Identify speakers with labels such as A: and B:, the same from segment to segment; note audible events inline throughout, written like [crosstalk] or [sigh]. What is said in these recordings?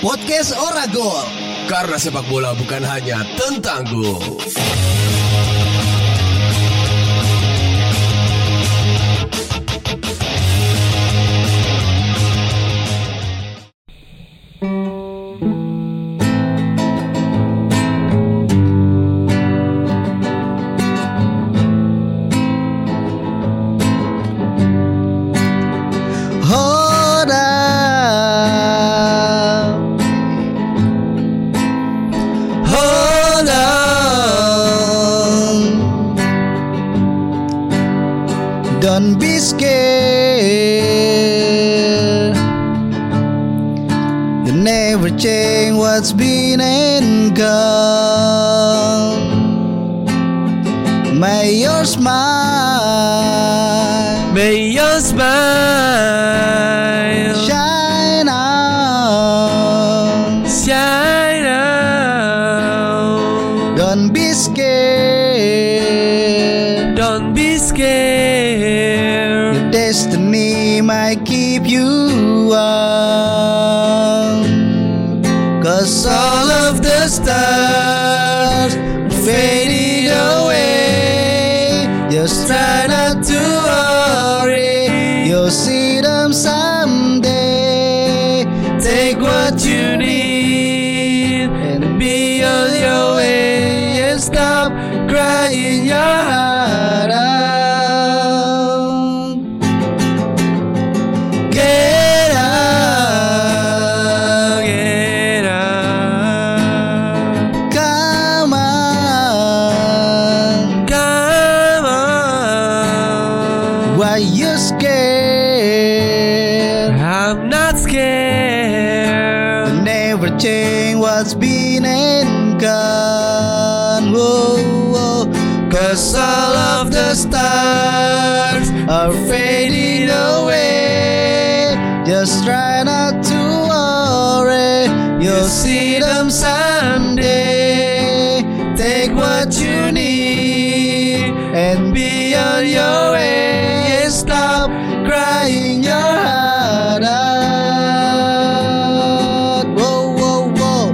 A: Podcast Oragol. Karena sepak bola bukan hanya tentang gol.
B: Hora Hora Don't be scared You never change what's been and gone May your smile
C: May your smile
B: Shine on.
C: shine out.
B: Don't be scared.
C: Don't be
B: Your
C: scared.
B: destiny might keep you up. Cause all of the stars faded away. Just try not to worry. You'll see them someday.
C: Take what you need and be on your way. And stop crying your heart out.
B: Get
C: out,
B: up.
C: get out.
B: Come on,
C: Come on.
B: why you scared?
C: I'm not scared.
B: Never change what's been and gone. Whoa, whoa. Cause all of the stars are fading away. Just try not to worry. You'll see them someday. Take what you need and be on your way. Stop crying your heart out. Whoa, whoa, whoa.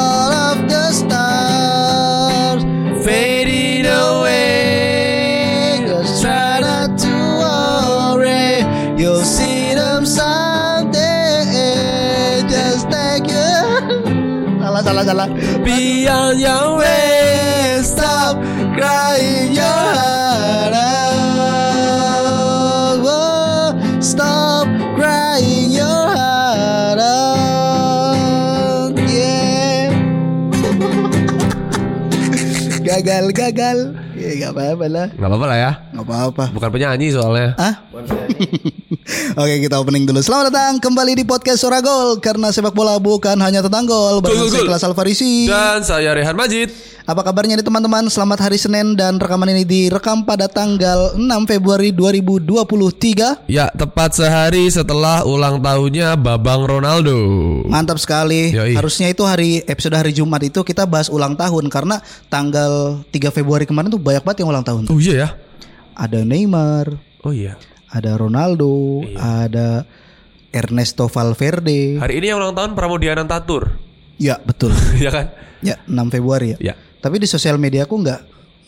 B: All of the stars
C: Fading away.
B: just try not to worry. You'll see them someday. Just take your. Salah, salah, salah.
C: Be on your way. Stop
B: Crying your heart out. Whoa, stop crying your heart out. Yeah. gagal, gagal. Ya, gak apa-apa lah.
C: Gak apa-apa lah ya.
B: Gak apa-apa.
C: Bukan penyanyi soalnya.
B: Hah? [laughs] Oke kita opening dulu Selamat datang kembali di podcast Soragol Karena sepak bola bukan hanya tentang gol Bersama
C: Gol, gol,
B: saya
C: gol.
B: Kelas Alfarisi
C: Dan saya Rehan Majid.
B: Apa kabarnya nih teman-teman Selamat hari Senin Dan rekaman ini direkam pada tanggal 6 Februari 2023
C: Ya, tepat sehari setelah ulang tahunnya Babang Ronaldo.
B: Mantap sekali
C: Yoi.
B: Harusnya itu hari episode hari Jumat itu Kita bahas ulang tahun Karena tanggal 3 Februari kemarin tuh banyak banget yang ulang tahun
C: Oh iya ya.
B: Ada Neymar
C: Oh iya.
B: Ada Ronaldo Ada Ernesto Valverde
C: Hari ini yang ulang tahun Pramudianan Tatur.
B: Ya betul
C: [laughs] ya kan?
B: Ya 6 Februari
C: Ya.
B: ya Tapi di sosial media aku nggak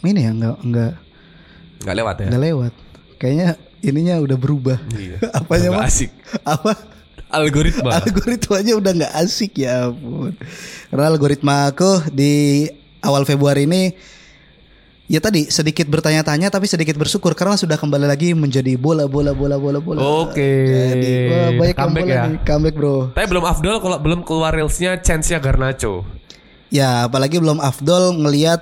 B: ini ya nggak nggak
C: Gak lewat ya.
B: nggak lewat. Kayaknya ininya udah berubah. [laughs]
C: Iya.
B: Apanya
C: Nggak
B: mas?
C: asik.
B: Apa
C: Algoritma. [laughs]
B: algoritmanya udah nggak asik ya ampun. Karena algoritma aku di awal Februari ini ya tadi sedikit bertanya-tanya tapi sedikit bersyukur karena sudah kembali lagi menjadi bola bola bola bola bola.
C: Oke.
B: Jadi wah, banyak yang
C: Comeback
B: bola
C: ya.
B: nih. comeback bro.
C: Tapi belum Afdol kalau belum keluar reelsnya Chance-nya Garnacho.
B: Ya apalagi belum Afdol ngelihat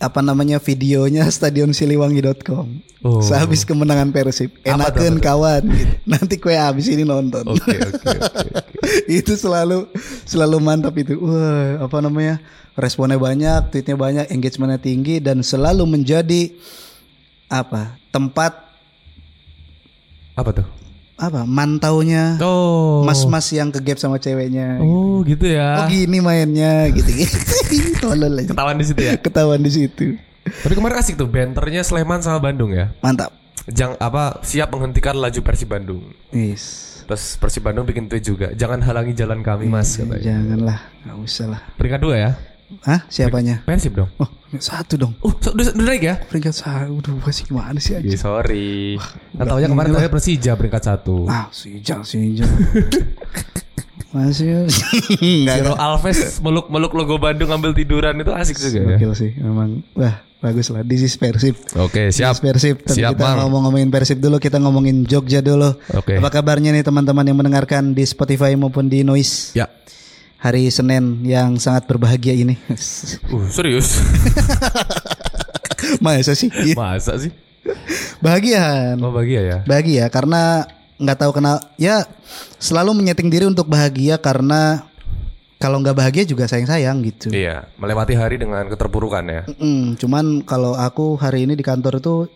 B: apa namanya videonya stadionsiliwangi.com.
C: Oh.
B: Sehabis kemenangan Persib, enakan kawan. gitu. Nanti kue habis ini nonton.
C: Oke, oke, oke.
B: [laughs] itu selalu selalu mantap itu. Wah, apa namanya? Responnya banyak, tweetnya banyak, engagementnya tinggi dan selalu menjadi apa? Tempat
C: Apa tuh?
B: apa? Mantaunya
C: Oh.
B: mas-mas yang kegap sama ceweknya.
C: Oh, gitu
B: Oh,
C: ya.
B: gini mainnya gitu-gitu. [laughs] Tolol aja.
C: Ketahuan di situ ya.
B: Ketahuan di situ.
C: Tapi kemarin asik tuh benternya Sleman sama Bandung ya.
B: Mantap.
C: Jang apa siap menghentikan laju Persib Bandung.
B: Yes.
D: Terus Persib Bandung bikin tweet juga. Jangan halangi jalan kami mas.
C: ya.
D: katanya.
B: Janganlah, nggak usah lah.
D: Peringkat dua ya.
B: Hah? Siapanya?
D: Persib dong.
B: Oh, satu dong.
D: Uh, so- udah, udah naik ya?
B: Peringkat satu, dua sih gimana sih
D: Ya,
B: aja?
D: sorry. Nah, taunya kemarin terakhir Persija peringkat satu.
B: Ah, Sinjang, Sinjang. [laughs] Masih enggak
D: Zero Alves meluk meluk logo Bandung ambil tiduran itu asik juga ya.
B: gokil sih memang. Wah, bagus lah. This is Persib.
D: Oke siap.
B: This is Persib. Tapi
D: Siap
B: kita
D: bang.
B: ngomong-ngomongin Persib dulu, kita ngomongin Jogja dulu.
D: Oke.
B: Apa kabarnya nih teman-teman yang mendengarkan di Spotify maupun di Noise
D: Ya.
B: hari Senin yang sangat berbahagia ini? [laughs]
D: Uh serius? [laughs]
B: Masa sih? Iya.
D: Masa sih?
B: Bahagiaan.
D: Mau bahagia ya?
B: bahagia karena nggak tahu kenal ya selalu menyeting diri untuk bahagia karena kalau nggak bahagia juga sayang sayang gitu
D: Iya. Melewati hari dengan keterpurukan ya.
B: Mm, cuman kalau aku hari ini di kantor itu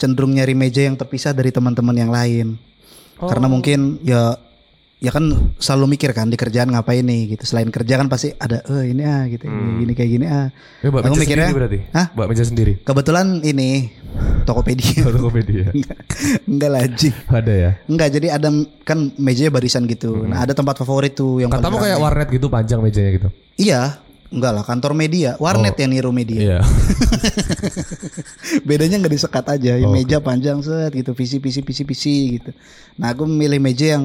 B: cenderung nyari meja yang terpisah dari teman-teman yang lain
D: Oh.
B: karena mungkin ya ya kan selalu mikir kan di kerjaan ngapain nih gitu selain kerja kan pasti ada eh ini ah gitu
D: Hmm.
B: gini kayak gini ah
D: Ya, buat
B: Aku
D: meja
B: mikirnya-
D: sendiri berarti.
B: Hah? Iya.
D: Buat meja sendiri.
B: kebetulan ini [laughs] Tokopedia
D: [laughs] Tokopedia.
B: enggak lah Ji.
D: Ada ya.
B: Enggak, jadi ada kan mejanya barisan gitu. Nah, ada tempat favorit tuh yang
D: Hmm. Katamu
B: paling
D: kayak
B: ramai.
D: warnet gitu panjang mejanya gitu.
B: Iya, enggak lah kantor media, warnet yang niru media.
D: Iya.
B: Bedanya enggak disekat aja, yang meja panjang set gitu, visi visi visi visi gitu. Nah, aku memilih meja yang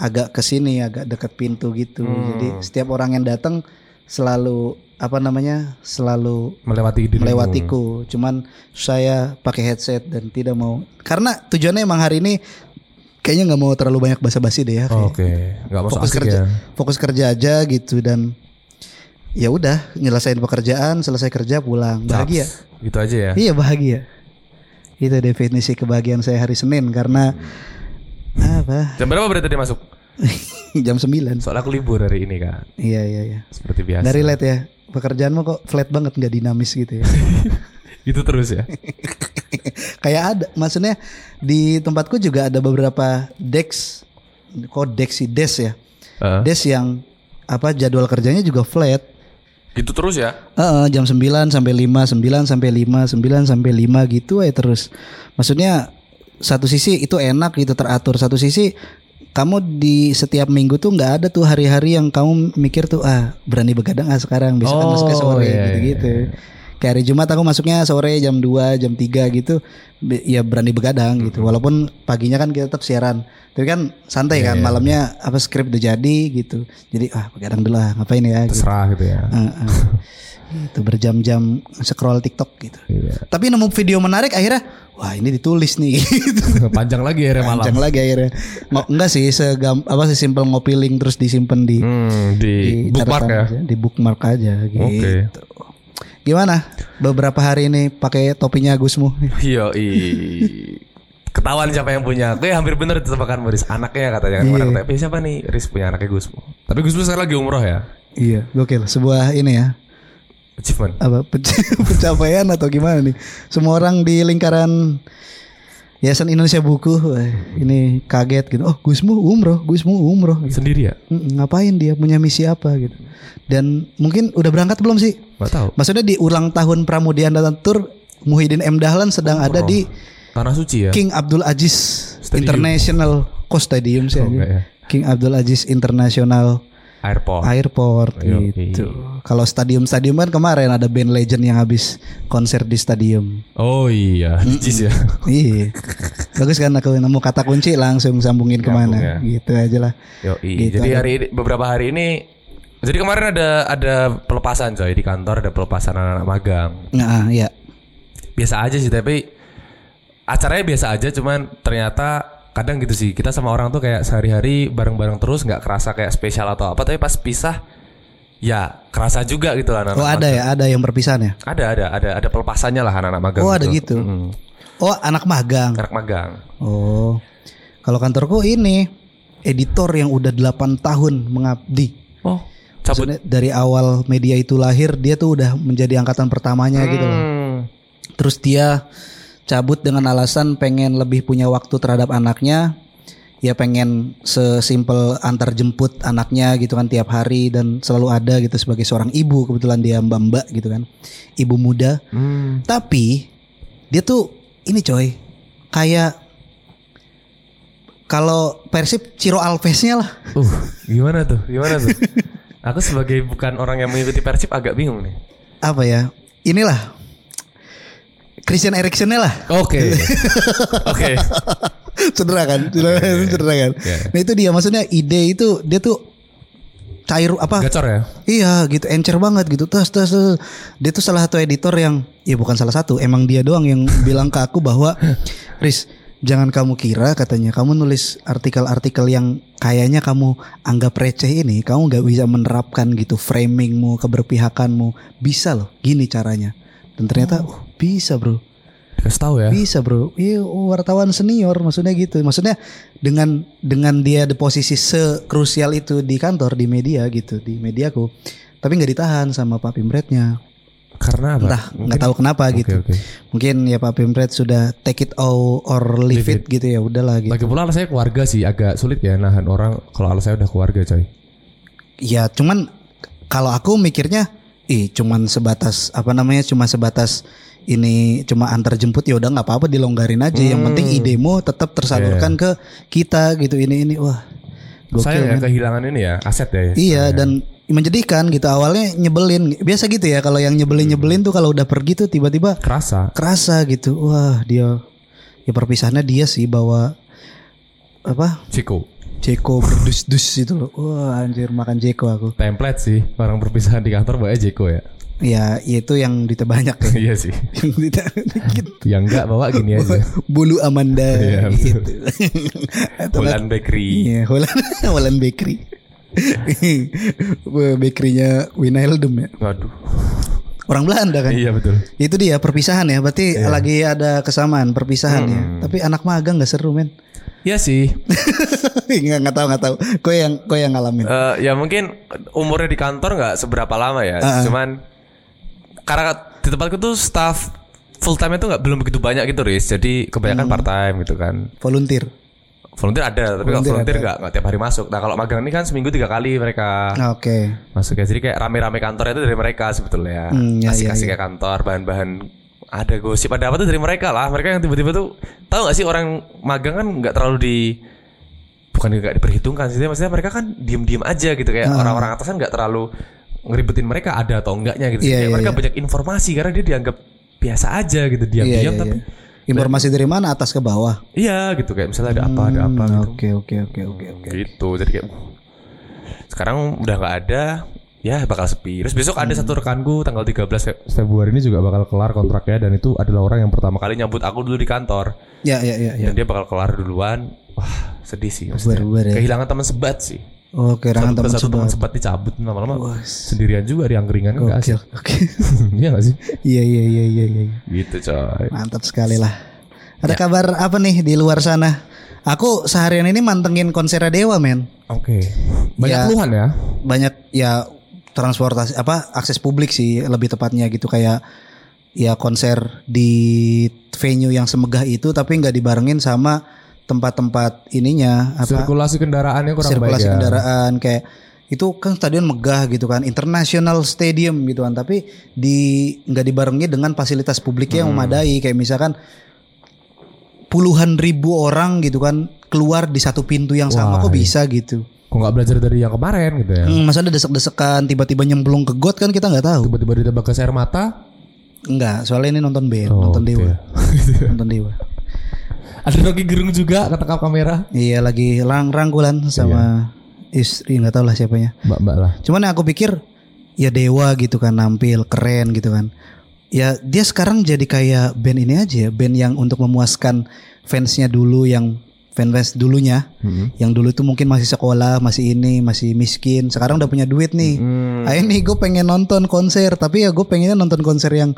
B: agak ke sini, agak dekat pintu gitu.
D: Hmm.
B: Jadi setiap orang yang datang selalu apa namanya? selalu
D: Melewati dirimu.
B: melewatiku. Cuman saya pakai headset dan tidak mau karena tujuannya emang hari ini kayaknya nggak mau terlalu banyak basa-basi deh ya. kayak.
D: Oh, Oke. Nggak masuk
B: fokus
D: asik
B: kerja
D: ya.
B: fokus kerja aja gitu dan ya udah nyelesain pekerjaan selesai kerja pulang bahagia
D: Caps. Gitu aja ya.
B: iya bahagia itu definisi kebahagiaan saya hari Senin karena apa [laughs]
D: Jam berapa berarti tadi masuk?
B: jam 9
D: Soalnya aku libur hari ini kan.
B: iya iya iya
D: Seperti biasa.
B: dari lihat ya pekerjaanmu kok flat banget nggak dinamis gitu ya [laughs]
D: Itu terus ya.
B: kayak ada maksudnya di tempatku juga ada beberapa dex kok dex sih desk ya
D: Heeh.
B: desk yang apa jadwal kerjanya juga flat
D: Gitu terus ya.
B: Heeh, jam 9 sampai 5, 9 sampai 5, 9 sampai 5 gitu aja terus. Maksudnya satu sisi itu enak gitu teratur, satu sisi kamu di setiap minggu tuh nggak ada tuh hari-hari yang kamu mikir tuh ah berani begadang ah sekarang besok kan
D: Oh,
B: masuknya sore
D: iya,
B: gitu-gitu. Kayak hari Jumat aku masuknya sore jam 2, jam 3 gitu be- ya berani begadang
D: Mm-hmm.
B: gitu. Walaupun paginya kan kita tetap siaran. Tapi kan santai
D: Iya,
B: kan malamnya apa skrip udah jadi gitu. Jadi ah begadang dulu ah ngapain ya gitu.
D: Terserah gitu ya.
B: Itu berjam-jam scroll TikTok gitu.
D: Iya. [laughs]
B: Tapi nemu video menarik akhirnya, wah ini ditulis nih [laughs] gitu.
D: Panjang lagi ya malam.
B: Panjang lagi akhirnya. Ngo- enggak sih segam apa sih simple ngopi link terus disimpan di,
D: Hmm, di,
B: di
D: bookmark
B: catatan
D: ya.
B: aja, di bookmark aja gitu.
D: Oke.
B: Gimana? Beberapa hari ini pakai topinya Agusmu.
D: Yo, ketahuan siapa yang punya. Gue hampir bener itu tebakan Riz. Anaknya katanya kan kemarin katanya, "Pi, siapa nih? Riz punya anaknya Gusmu. Tapi Gusmu sekarang lagi umroh ya.
B: Iya, gokil. Sebuah ini ya,
D: Achievement.
B: apa penca- [laughs] pencapaian atau gimana nih? Semua orang di lingkaran Yayasan Indonesia Buku wah, ini kaget gitu. Oh, Gusmu umroh, Gusmu umroh.
D: Sendiri ya?
B: Mm, ngapain dia punya misi apa gitu dan mungkin udah berangkat belum sih
D: Gak tahu.
B: maksudnya di ulang tahun Pramudian dan Tur Muhyiddin M Dahlan sedang ada di
D: Tanah suci ya.
B: King Abdul Aziz
D: Stadium.
B: International Kok Stadium sih
D: Oh,
B: anjing?
D: enggak ya.
B: King Abdul Aziz International
D: Airport.
B: Airport
D: Ayo,
B: gitu kalau stadium-stadium kan kemarin ada band legend yang habis konser di stadium
D: Oh iya, [laughs] jis ya.
B: iya bagus kan aku nemu kata kunci langsung sambungin kemana
D: Nyambung
B: gitu aja lah
D: Yo, jadi hari ini beberapa hari ini jadi kemarin ada ada pelepasan coy di kantor ada pelepasan anak-anak magang.
B: nah ya
D: Biasa aja sih tapi acaranya biasa aja cuman ternyata kadang gitu sih kita sama orang tuh kayak sehari-hari bareng-bareng terus nggak kerasa kayak spesial atau apa tapi pas pisah ya kerasa juga gitu lah
B: oh
D: anak-anak.
B: ada ya ada yang perpisahan ya
D: Ada ada ada ada pelepasannya lah anak-anak magang.
B: Oh ada gitu.
D: Mm,
B: Oh anak magang.
D: anak magang.
B: Oh. Kalau kantorku ini editor yang udah 8 tahun mengabdi.
D: Oh, cabut.
B: Maksudnya dari awal media itu lahir dia tuh udah menjadi angkatan pertamanya gitu loh.
D: Hmm.
B: Terus dia cabut dengan alasan pengen lebih punya waktu terhadap anaknya. Ya pengen sesimpel antar jemput anaknya gitu kan tiap hari dan selalu ada gitu sebagai seorang ibu kebetulan dia mbak-mbak gitu kan. Ibu muda.
D: Hmm.
B: Tapi dia tuh ini coy kayak Kalau Persib Ciro Alves-nya lah.
D: Uh, gimana tuh? Gimana
B: [laughs]
D: tuh? Aku sebagai bukan orang yang mengikuti Persib agak bingung nih.
B: Apa ya? Inilah Christian Eriksen-nya lah.
D: Oke. Oke.
B: [laughs] cedera kan? Cedera, cedera kan?
D: Iya.
B: Nah itu dia maksudnya ide itu dia tuh cair apa?
D: Gacor ya?
B: Iya gitu encer banget gitu tas tas tas. dia tuh salah satu editor yang ya bukan salah satu emang dia doang yang [laughs] bilang ke aku bahwa Riz jangan kamu kira katanya kamu nulis artikel-artikel yang kayaknya kamu anggap receh ini kamu nggak bisa menerapkan gitu framingmu keberpihakanmu bisa loh gini caranya dan ternyata uh, bisa bro
D: Kasih tahu ya.
B: bisa bro, iya wartawan senior maksudnya gitu, maksudnya dengan dengan dia di posisi sekrusial itu di kantor di media gitu di mediaku, tapi nggak ditahan sama Pak Pimretnya,
D: Karena apa?
B: entah
D: Mungkin-
B: nggak tahu kenapa
D: Oke,
B: gitu,
D: oke.
B: mungkin ya Pak Pimret sudah take it all or leave,
D: Leave
B: it. gitu ya udahlah gitu,
D: Lagi pula alasannya keluarga sih agak sulit ya nahan orang kalau alasannya udah keluarga coy.
B: ya cuman kalau aku mikirnya, ih cuman sebatas apa namanya cuma sebatas ini cuma antar jemput ya udah nggak apa-apa dilonggarin aja, yang penting idemu tetap tersalurkan ke kita gitu ini ini wah. gokil,
D: Saya
B: men.
D: ya kehilangan ini ya aset ya.
B: Iya dan menjadikan gitu awalnya nyebelin biasa gitu ya kalau yang nyebelin nyebelin tuh kalau udah pergi tuh tiba-tiba
D: Kerasa.
B: kerasa gitu wah dia ya perpisahannya dia sih bawa apa
D: Ciko.
B: Jeko berdus-dus itu loh wah anjir makan Jeko aku
D: Template sih orang perpisahan di kantor bawa Ciko ya. [laughs]
B: ya itu yang dite banyak ya. [laughs]
D: iya sih.
B: yang dite dikit.
D: Yang enggak bawa gini aja.
B: bulu Amanda
D: Iya, [laughs]
B: gitu atau nggak-
D: Bulan Bakery.
B: iya Holland [laughs] Holland Bakery bakerynya Winaldum ya
D: Waduh.
B: orang Belanda kan
D: Iya betul.
B: Itu dia perpisahan ya. Berarti lagi ada kesamaan perpisahan ya.
D: Hmm.
B: Tapi anak magang nggak seru men. [laughs]
D: Iya sih.
B: nggak nggak tahu nggak tahu. Kau yang kau yang ngalamin.
D: Eh, ya mungkin umurnya di kantor nggak seberapa lama ya. Cuman karena di tempatku tuh staff full time itu nggak belum begitu banyak gitu, Riz. Jadi kebanyakan
B: Hmm.
D: part time gitu kan.
B: Volunteer.
D: Volunteer ada, tapi kalau
B: Volunteer
D: volunteer nggak nggak tiap hari masuk. Nah kalau magang ini kan seminggu tiga kali mereka
B: Oke.
D: masuk ya. Jadi kayak rame-rame kantor itu dari mereka sebetulnya.
B: Hmm, ya,
D: Kasih-kasih ke kantor, bahan-bahan ada gosip ada apa tuh dari mereka lah. Mereka yang tiba-tiba tuh tahu nggak sih orang magang kan nggak terlalu di bukan nggak diperhitungkan sih, maksudnya mereka kan diem-diem aja gitu
B: Ah.
D: kayak orang-orang atasan nggak terlalu ngeribetin mereka ada atau enggaknya gitu.
B: Iya,
D: Kayak
B: iya,
D: mereka banyak informasi karena dia dianggap biasa aja gitu diam-diam
B: Iya, iya,
D: tapi
B: iya. Informasi dari mana atas ke bawah? Hmm,
D: iya gitu kayak misalnya ada apa ada apa gitu.
B: Oke oke oke oke oke.
D: Gitu jadi kayak "Wuh, sekarang udah nggak ada ya bakal sepi. Terus besok ada satu rekanku tanggal 13 Fe- Februari ini juga bakal kelar kontraknya dan itu adalah orang yang pertama kali nyambut aku dulu di kantor
B: Ya ya ya
D: dan
B: ya.
D: dia bakal kelar duluan. Wah sedih sih. maksudnya.
B: Bubar-bubar ya.
D: Kehilangan teman sebat sih.
B: Oke,
D: Satu
B: rangan teman
D: satu
B: sebelah.
D: teman sebat dicabut lama-lama sendirian juga di angkringan kan nggak
B: Oke
D: asik.
B: oke.
D: [laughs] Iya nggak sih?
B: Iya iya iya iya iya.
D: Gitu coy.
B: Mantap sekali lah.
D: Ya.
B: Ada kabar apa nih di luar sana? Aku seharian ini mantengin konser Dewa men.
D: Oke. Banyak
B: Ya.
D: keluhan ya.
B: banyak ya transportasi apa akses publik sih lebih tepatnya gitu kayak ya konser di venue yang semegah itu tapi nggak dibarengin sama tempat-tempat ininya apa
D: Sirkulasi kendaraannya kurang
B: sirkulasi
D: baik ya.
B: kendaraan kayak itu kan stadion megah gitu kan international stadium gitu kan tapi di nggak dibarengi dengan fasilitas publiknya yang
D: Hmm.
B: memadai kayak misalkan puluhan ribu orang gitu kan keluar di satu pintu yang sama
D: Wah,
B: kok
D: iya.
B: bisa gitu
D: Kok nggak belajar dari yang kemarin gitu ya?
B: Hmm, masa ada desek-desekan tiba-tiba nyemplung ke got kan kita nggak tahu.
D: Tiba-tiba ditembak gas air mata,
B: Enggak, soalnya ini nonton band,
D: Oh,
B: nonton
D: gitu
B: Dewa.
D: ya. [laughs]
B: nonton Dewa.
D: Ada Rocky Gerung juga ketangkap kamera.
B: Iya lagi lang rangkulan sama
D: Iya.
B: istri nggak tahu lah siapanya.
D: Mbak-mbak lah.
B: Cuman yang aku pikir ya Dewa gitu kan nampil keren gitu kan. Ya dia sekarang jadi kayak band ini aja, ya, band yang untuk memuaskan fansnya dulu yang fans-fans dulunya,
D: Mm-hmm.
B: yang dulu tuh mungkin masih sekolah, masih ini, masih miskin, sekarang udah punya duit nih.
D: Hmm. Mm-hmm.
B: Ayo nih gue pengen nonton konser, tapi ya gue pengennya nonton konser yang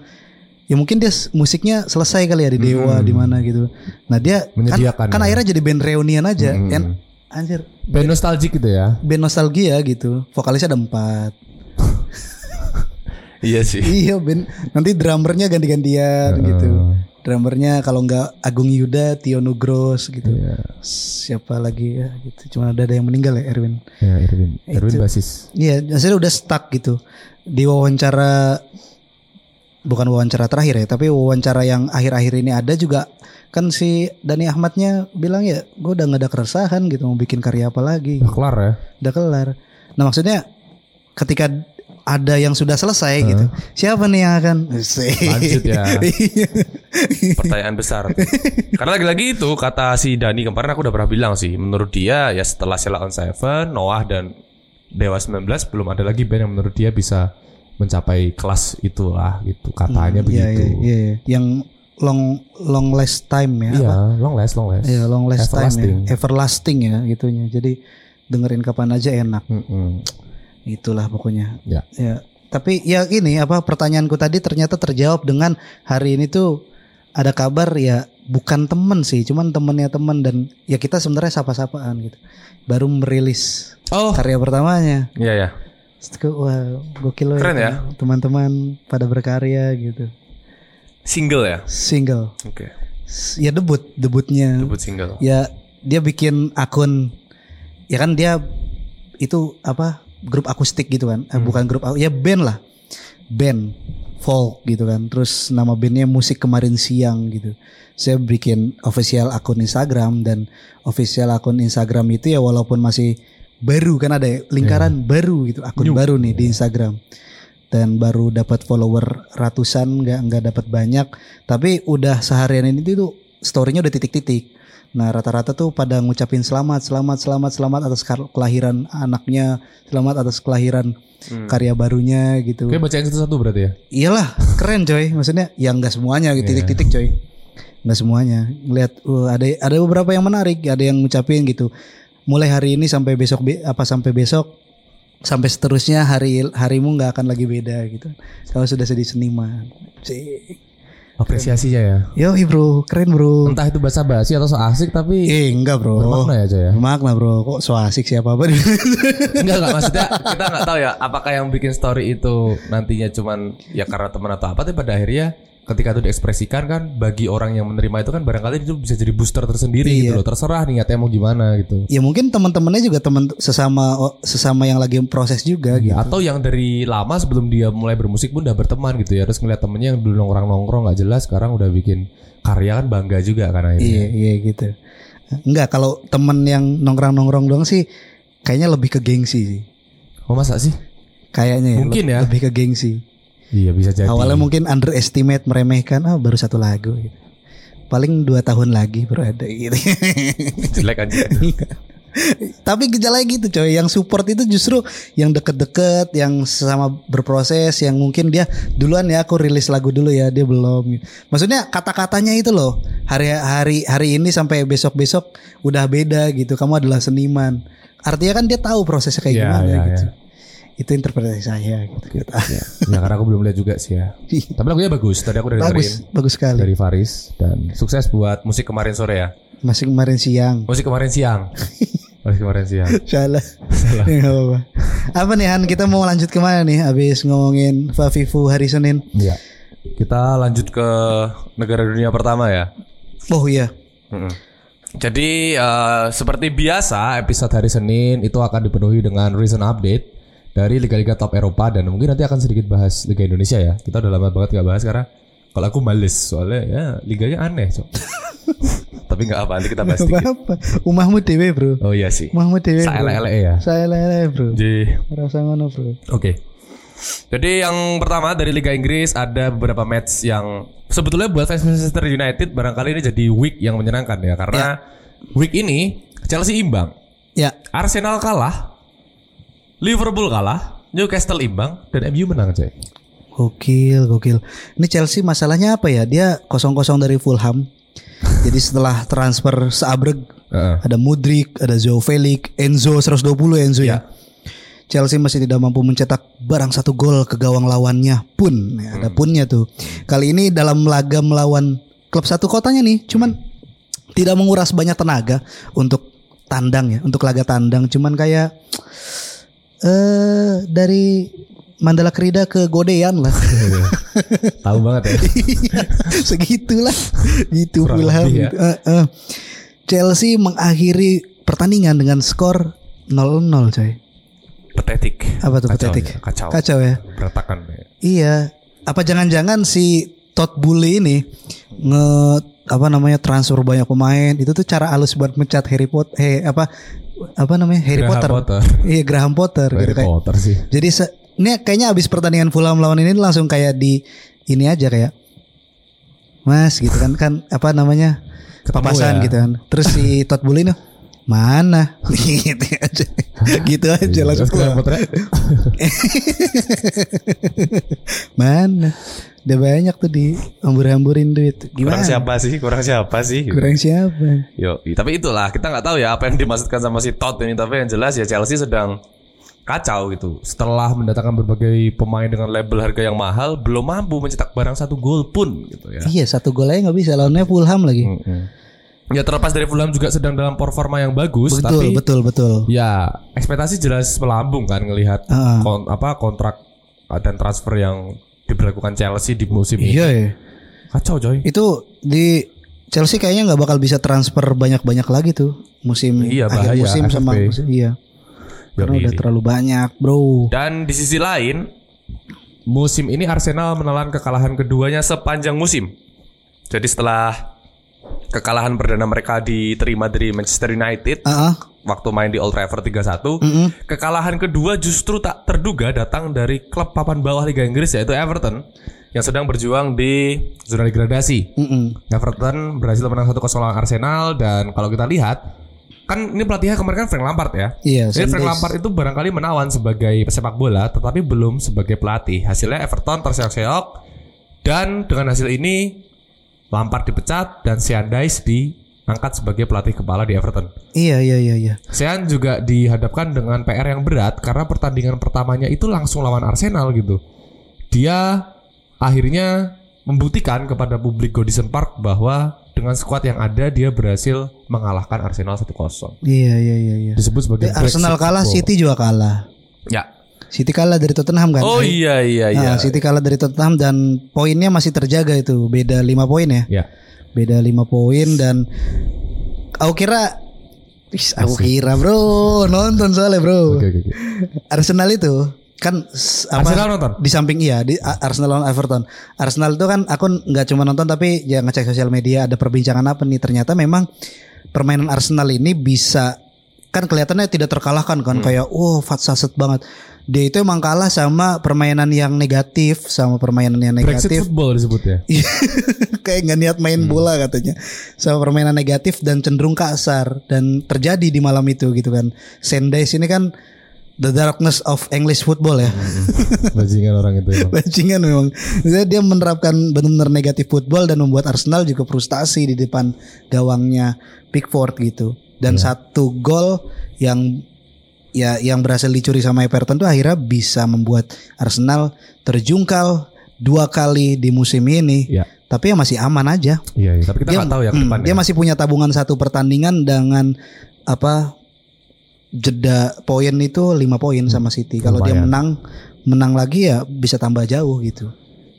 B: ya mungkin dia s- musiknya selesai kali ya di Dewa di mana gitu. Nah dia kan,
D: Mm-hmm. Menyediakan
B: kan
D: ya.
B: akhirnya jadi band reunian aja.
D: Mm-hmm.
B: En- anjir,
D: Band nostalgic gitu ya.
B: band nostalgia gitu. Vokalisnya ada empat.
D: Iya sih.
B: [laughs] iya band. Nanti
D: Iya,
B: drummernya
D: Eh,
B: ganti-gantian gitu. Drummernya kalau nggak Agung Yuda, Tio Nugros gitu.
D: Iya.
B: Siapa lagi ya gitu. Cuma ada ada yang meninggal ya Erwin.
D: Ya, Erwin. Erwin basis.
B: Iya, hasilnya udah stuck gitu. Di wawancara bukan wawancara terakhir ya, tapi wawancara yang akhir-akhir ini ada juga kan si Dani Ahmadnya bilang ya, gue udah nggak ada keresahan gitu mau bikin karya apa lagi,
D: Udah kelar ya.
B: udah kelar. Nah maksudnya ketika ada yang sudah selesai gitu, siapa nih yang akan
D: Lanjut
B: [laughs]
D: ya.
B: Iya.
D: Pertanyaan besar. [laughs] Karena lagi-lagi itu kata si Dani kemarin aku udah pernah bilang sih. Menurut dia ya setelah Sheila on Seven, Noah dan Dewa 19 belum ada lagi band yang menurut dia bisa mencapai kelas itulah gitu katanya
B: Iya,
D: begitu.
B: iya, iya, iya. Yang long long last time ya. apa?
D: Iya, long last, long last.
B: Iya, long last
D: Everlasting.
B: time ya. Everlasting ya gitunya. Jadi dengerin kapan aja enak.
D: Mm-mm.
B: Itulah pokoknya.
D: Ya.
B: Tapi ya ini apa pertanyaanku tadi ternyata terjawab dengan hari ini tuh ada kabar ya bukan temen sih, cuman temennya temen dan ya kita sebenarnya sapa-sapaan gitu. Baru merilis
D: Oh,
B: karya pertamanya.
D: iya ya.
B: Terus gue, Wah, gokil loh
D: Keren ya.
B: Teman-teman pada berkarya gitu.
D: Single ya.
B: Single.
D: Oke.
B: S- Ya debut, debutnya.
D: Debut single.
B: ya dia bikin akun ya kan dia itu apa grup akustik gitu kan Eh, bukan grup aku- ya band lah band folk gitu kan terus nama bandnya musik kemarin siang gitu saya bikin official akun Instagram dan official akun Instagram itu ya walaupun masih baru kan ada ya, lingkaran baru gitu
D: New.
B: akun baru nih di Instagram dan baru dapat follower ratusan nggak nggak dapat banyak tapi udah seharian ini tuh storynya udah titik-titik Nah rata-rata tuh pada ngucapin selamat, selamat, selamat, selamat atas kar- kelahiran anaknya, selamat atas kelahiran
D: Hmm.
B: karya barunya gitu.
D: Oke, bacain satu-satu berarti ya.
B: Iyalah keren coy, maksudnya ya nggak semuanya gitu,
D: Iya.
B: titik-titik coy, nggak semuanya. Lihat uh, ada ada beberapa yang menarik, ada yang ngucapin gitu. Mulai hari ini sampai besok be- apa sampai besok sampai seterusnya hari harimu nggak akan lagi beda gitu. Kalau sudah jadi seniman. Cik.
D: Apresiasinya ya.
B: Yoi bro, keren bro.
D: Entah itu bahasa basi atau so asik tapi
B: Eh enggak bro.
D: bermakna ya, Jaya.
B: Bermakna bro, kok so asik siapa
D: [laughs]
B: apa
D: Enggak enggak maksudnya kita nggak tahu ya apakah yang bikin story itu nantinya cuman ya karena teman atau apa tapi pada akhirnya ketika itu diekspresikan kan bagi orang yang menerima itu kan barangkali itu bisa jadi booster tersendiri gitu
B: Iya.
D: loh terserah niatnya mau gimana gitu.
B: [laughs] ya mungkin teman-temannya juga teman sesama sesama yang lagi proses juga gitu.
D: Atau yang dari lama sebelum dia mulai bermusik pun udah berteman gitu ya. Terus ngeliat temennya yang dulu nongkrong-nongkrong nggak jelas sekarang udah bikin karya kan bangga juga kan
B: Iya,
D: akhirnya.
B: iya gitu. Enggak kalau temen yang nongkrong-nongkrong doang sih kayaknya lebih ke gengsi sih.
D: Oh masa sih?
B: Kayaknya ya,
D: Mungkin
B: le-
D: ya.
B: lebih ke gengsi.
D: Iya bisa jadi.
B: Awalnya mungkin underestimate meremehkan ah baru satu lagu gitu. Paling dua tahun lagi baru ada gitu. [laughs]
D: jelek aja.
B: Tapi gejalanya gitu coy Yang support itu justru Yang deket-deket Yang sama berproses Yang mungkin dia Duluan ya aku rilis lagu dulu ya Dia belum Maksudnya kata-katanya itu loh Hari hari hari ini sampai besok-besok Udah beda gitu Kamu adalah seniman Artinya kan dia tahu prosesnya kayak
D: Iya,
B: gimana
D: iya,
B: gitu
D: iya.
B: Itu interpretasi saya
D: [laughs]
B: gitu.
D: ya karena aku belum lihat juga sih ya. Tapi lagunya bagus. Tadi aku udah dengerin.
B: Bagus Bagus sekali
D: dari Faris dan sukses buat musik kemarin sore ya.
B: Masih kemarin siang
D: Musik kemarin
B: [laughs]
D: siang. musik kemarin siang.
B: Salah. Ya, [laughs] nggak apa-apa. Apa nih Han kita mau lanjut kemana nih Habis ngomongin Fafifu hari Senin
D: Iya. Kita lanjut ke negara dunia pertama ya.
B: Oh iya
D: Mm-mm. Jadi eh, seperti biasa episode hari Senin itu akan dipenuhi dengan recent update dari liga-liga top Eropa dan mungkin nanti akan sedikit bahas liga Indonesia ya. Kita udah lama banget nggak bahas karena kalau aku males soalnya ya liganya aneh. Cok. [laughs] Tapi nggak apa nanti kita bahas
B: Gak
D: sedikit.
B: apa-apa. Umahmu dewe, Bro.
D: Oh iya sih.
B: Umahmu dewe. bro.
D: Saya ya.
B: Saya lele, Bro.
D: Jadi
B: Rasa ngono, Bro.
D: Oke. Jadi yang pertama dari Liga Inggris ada beberapa match yang sebetulnya buat fans Manchester United barangkali ini jadi week yang menyenangkan ya karena week ini Chelsea imbang,
B: Ya,
D: Arsenal kalah, Liverpool kalah, Newcastle imbang dan MU menang coy.
B: gokil, gokil. Ini Chelsea masalahnya apa ya? Dia kosong-kosong dari Fulham. Jadi setelah transfer seabreg [laughs]
D: Heeh.
B: ada Mudrik, ada Joe Felix, Enzo 120 Enzo ya. Chelsea masih tidak mampu mencetak barang satu gol ke gawang lawannya pun Ya, ada punnya tuh. Kali ini dalam laga melawan klub satu kotanya nih, cuman tidak menguras banyak tenaga untuk tandang ya, untuk laga tandang. Cuman kayak eh dari Mandala Krida ke Godean lah,
D: Tahu banget ya.
B: [laughs] segitulah, gitu
D: Kurang
B: pula.
D: lebih ya.
B: Eh, eh. Chelsea mengakhiri pertandingan dengan skor 0-0 coy.
D: Pathetic.
B: Apa tuh
D: Kacau
B: pathetic?
D: ya, Kacau.
B: Kacau ya.
D: Berantakan.
B: Iya, apa jangan-jangan si Todd Bully ini nge apa namanya transfer banyak pemain itu tuh cara halus buat mencat Harry Potter eh apa apa namanya Harry
D: Graham
B: Potter.
D: Potter.
B: Iya Graham Potter gitu
D: Harry
B: kayak.
D: Potter sih.
B: Jadi se- ini kayaknya abis pertandingan Fulham lawan ini langsung kayak di ini aja kayak Mas gitu kan kan apa namanya
D: Ketemu
B: papasan
D: ya.
B: gitu kan. Terus si
D: [laughs]
B: Todd Bully nih mana [laughs] gitu aja gitu aja
D: Iya,
B: langsung
D: terus Graham
B: keluar.
D: Potternya,
B: [laughs] Mana? Udah banyak tuh di hambur-hamburin duit. Gimana?
D: Kurang siapa sih? Kurang siapa sih?
B: Kurang siapa?
D: Yo, tapi itulah kita nggak tahu ya apa yang dimaksudkan sama si Todd ini. Tapi yang jelas ya Chelsea sedang kacau gitu. Setelah mendatangkan berbagai pemain dengan label harga yang mahal, belum mampu mencetak barang satu gol pun gitu ya.
B: Iya satu gol aja nggak bisa lawannya Fulham lagi.
D: Hmm. Ya terlepas dari Fulham juga sedang dalam performa yang bagus,
B: betul
D: tapi
B: betul betul.
D: ya ekspektasi jelas melambung kan ngelihat
B: Heeh.
D: kon- apa kontrak uh, dan transfer yang diberlakukan Chelsea di musim ini.
B: Iya ya.
D: Kacau coy.
B: Itu di Chelsea kayaknya nggak bakal bisa transfer banyak-banyak lagi tuh musim
D: Iya,
B: akhir
D: bahaya,
B: musim sama
D: FFP.
B: musim iya.
D: Yo,
B: Karena
D: iya.
B: udah terlalu banyak bro.
D: Dan di sisi lain, musim ini Arsenal menelan kekalahan keduanya sepanjang musim. Jadi setelah kekalahan perdana mereka diterima dari Manchester United
B: Ah, ah.
D: waktu main di Old Trafford 3-1,
B: Mm-mm.
D: kekalahan kedua justru tak terduga datang dari klub papan bawah Liga Inggris yaitu Everton yang sedang berjuang di zona degradasi.
B: Mm-mm.
D: Everton berhasil menang 1-0 lawan Arsenal dan kalau kita lihat kan ini pelatihnya kemarin kan Frank Lampard ya.
B: Iya,
D: Jadi Frank
B: Sundays.
D: Lampard itu barangkali menawan sebagai pesepak bola tetapi belum sebagai pelatih. Hasilnya Everton terseok-seok dan dengan hasil ini Lampard dipecat dan Sean Dyche diangkat sebagai pelatih kepala di Everton.
B: Iya iya iya iya.
D: Sean juga dihadapkan dengan PR yang berat karena pertandingan pertamanya itu langsung lawan Arsenal gitu. Dia akhirnya membuktikan kepada publik Godison Park bahwa dengan skuad yang ada dia berhasil mengalahkan Arsenal 1-0.
B: Iya iya iya iya.
D: Disebut sebagai
B: Eh, Arsenal
D: Brexit
B: kalah,
D: football.
B: City juga kalah.
D: Ya.
B: City kalah dari Tottenham kan?
D: Oh iya iya iya.
B: Nah, City kalah dari Tottenham dan poinnya masih terjaga itu, beda 5 poin ya.
D: Ya.
B: Beda 5 poin dan aku kira Ih, aku kira bro, nonton soalnya bro.
D: Oke oke oke.
B: Arsenal itu kan s- apa,
D: Arsenal nonton?
B: di samping iya di A- Arsenal lawan Everton. Arsenal itu kan aku nggak cuma nonton tapi ya ngecek sosial media ada perbincangan apa nih ternyata memang permainan Arsenal ini bisa kan kelihatannya tidak terkalahkan kan
D: Hmm.
B: kayak wow fatsaset banget. Dia itu emang kalah sama permainan yang negatif sama permainan yang
D: Brexit
B: negatif
D: football disebutnya.
B: [laughs] kayak nggak niat main bola katanya sama permainan negatif dan cenderung kasar dan terjadi di malam itu gitu kan Sendays ini kan the darkness of English football ya
D: Bajingan orang itu. emang.
B: [laughs] Bajingan memang. Maksudnya dia menerapkan benar-benar negatif football dan membuat Arsenal juga frustasi di depan gawangnya Pickford gitu. Dan satu gol yang ya yang berhasil dicuri sama Everton tuh akhirnya bisa membuat Arsenal terjungkal dua kali di musim ini.
D: Ya.
B: Tapi ya masih aman aja.
D: Iya iya. Tapi kita nggak tahu ya ke
B: hmm,
D: depannya.
B: dia masih punya tabungan satu pertandingan dengan apa jeda poin itu 5 poin sama City. Kalau dia
D: Hmm, Lumayan.
B: menang menang lagi ya bisa tambah jauh gitu.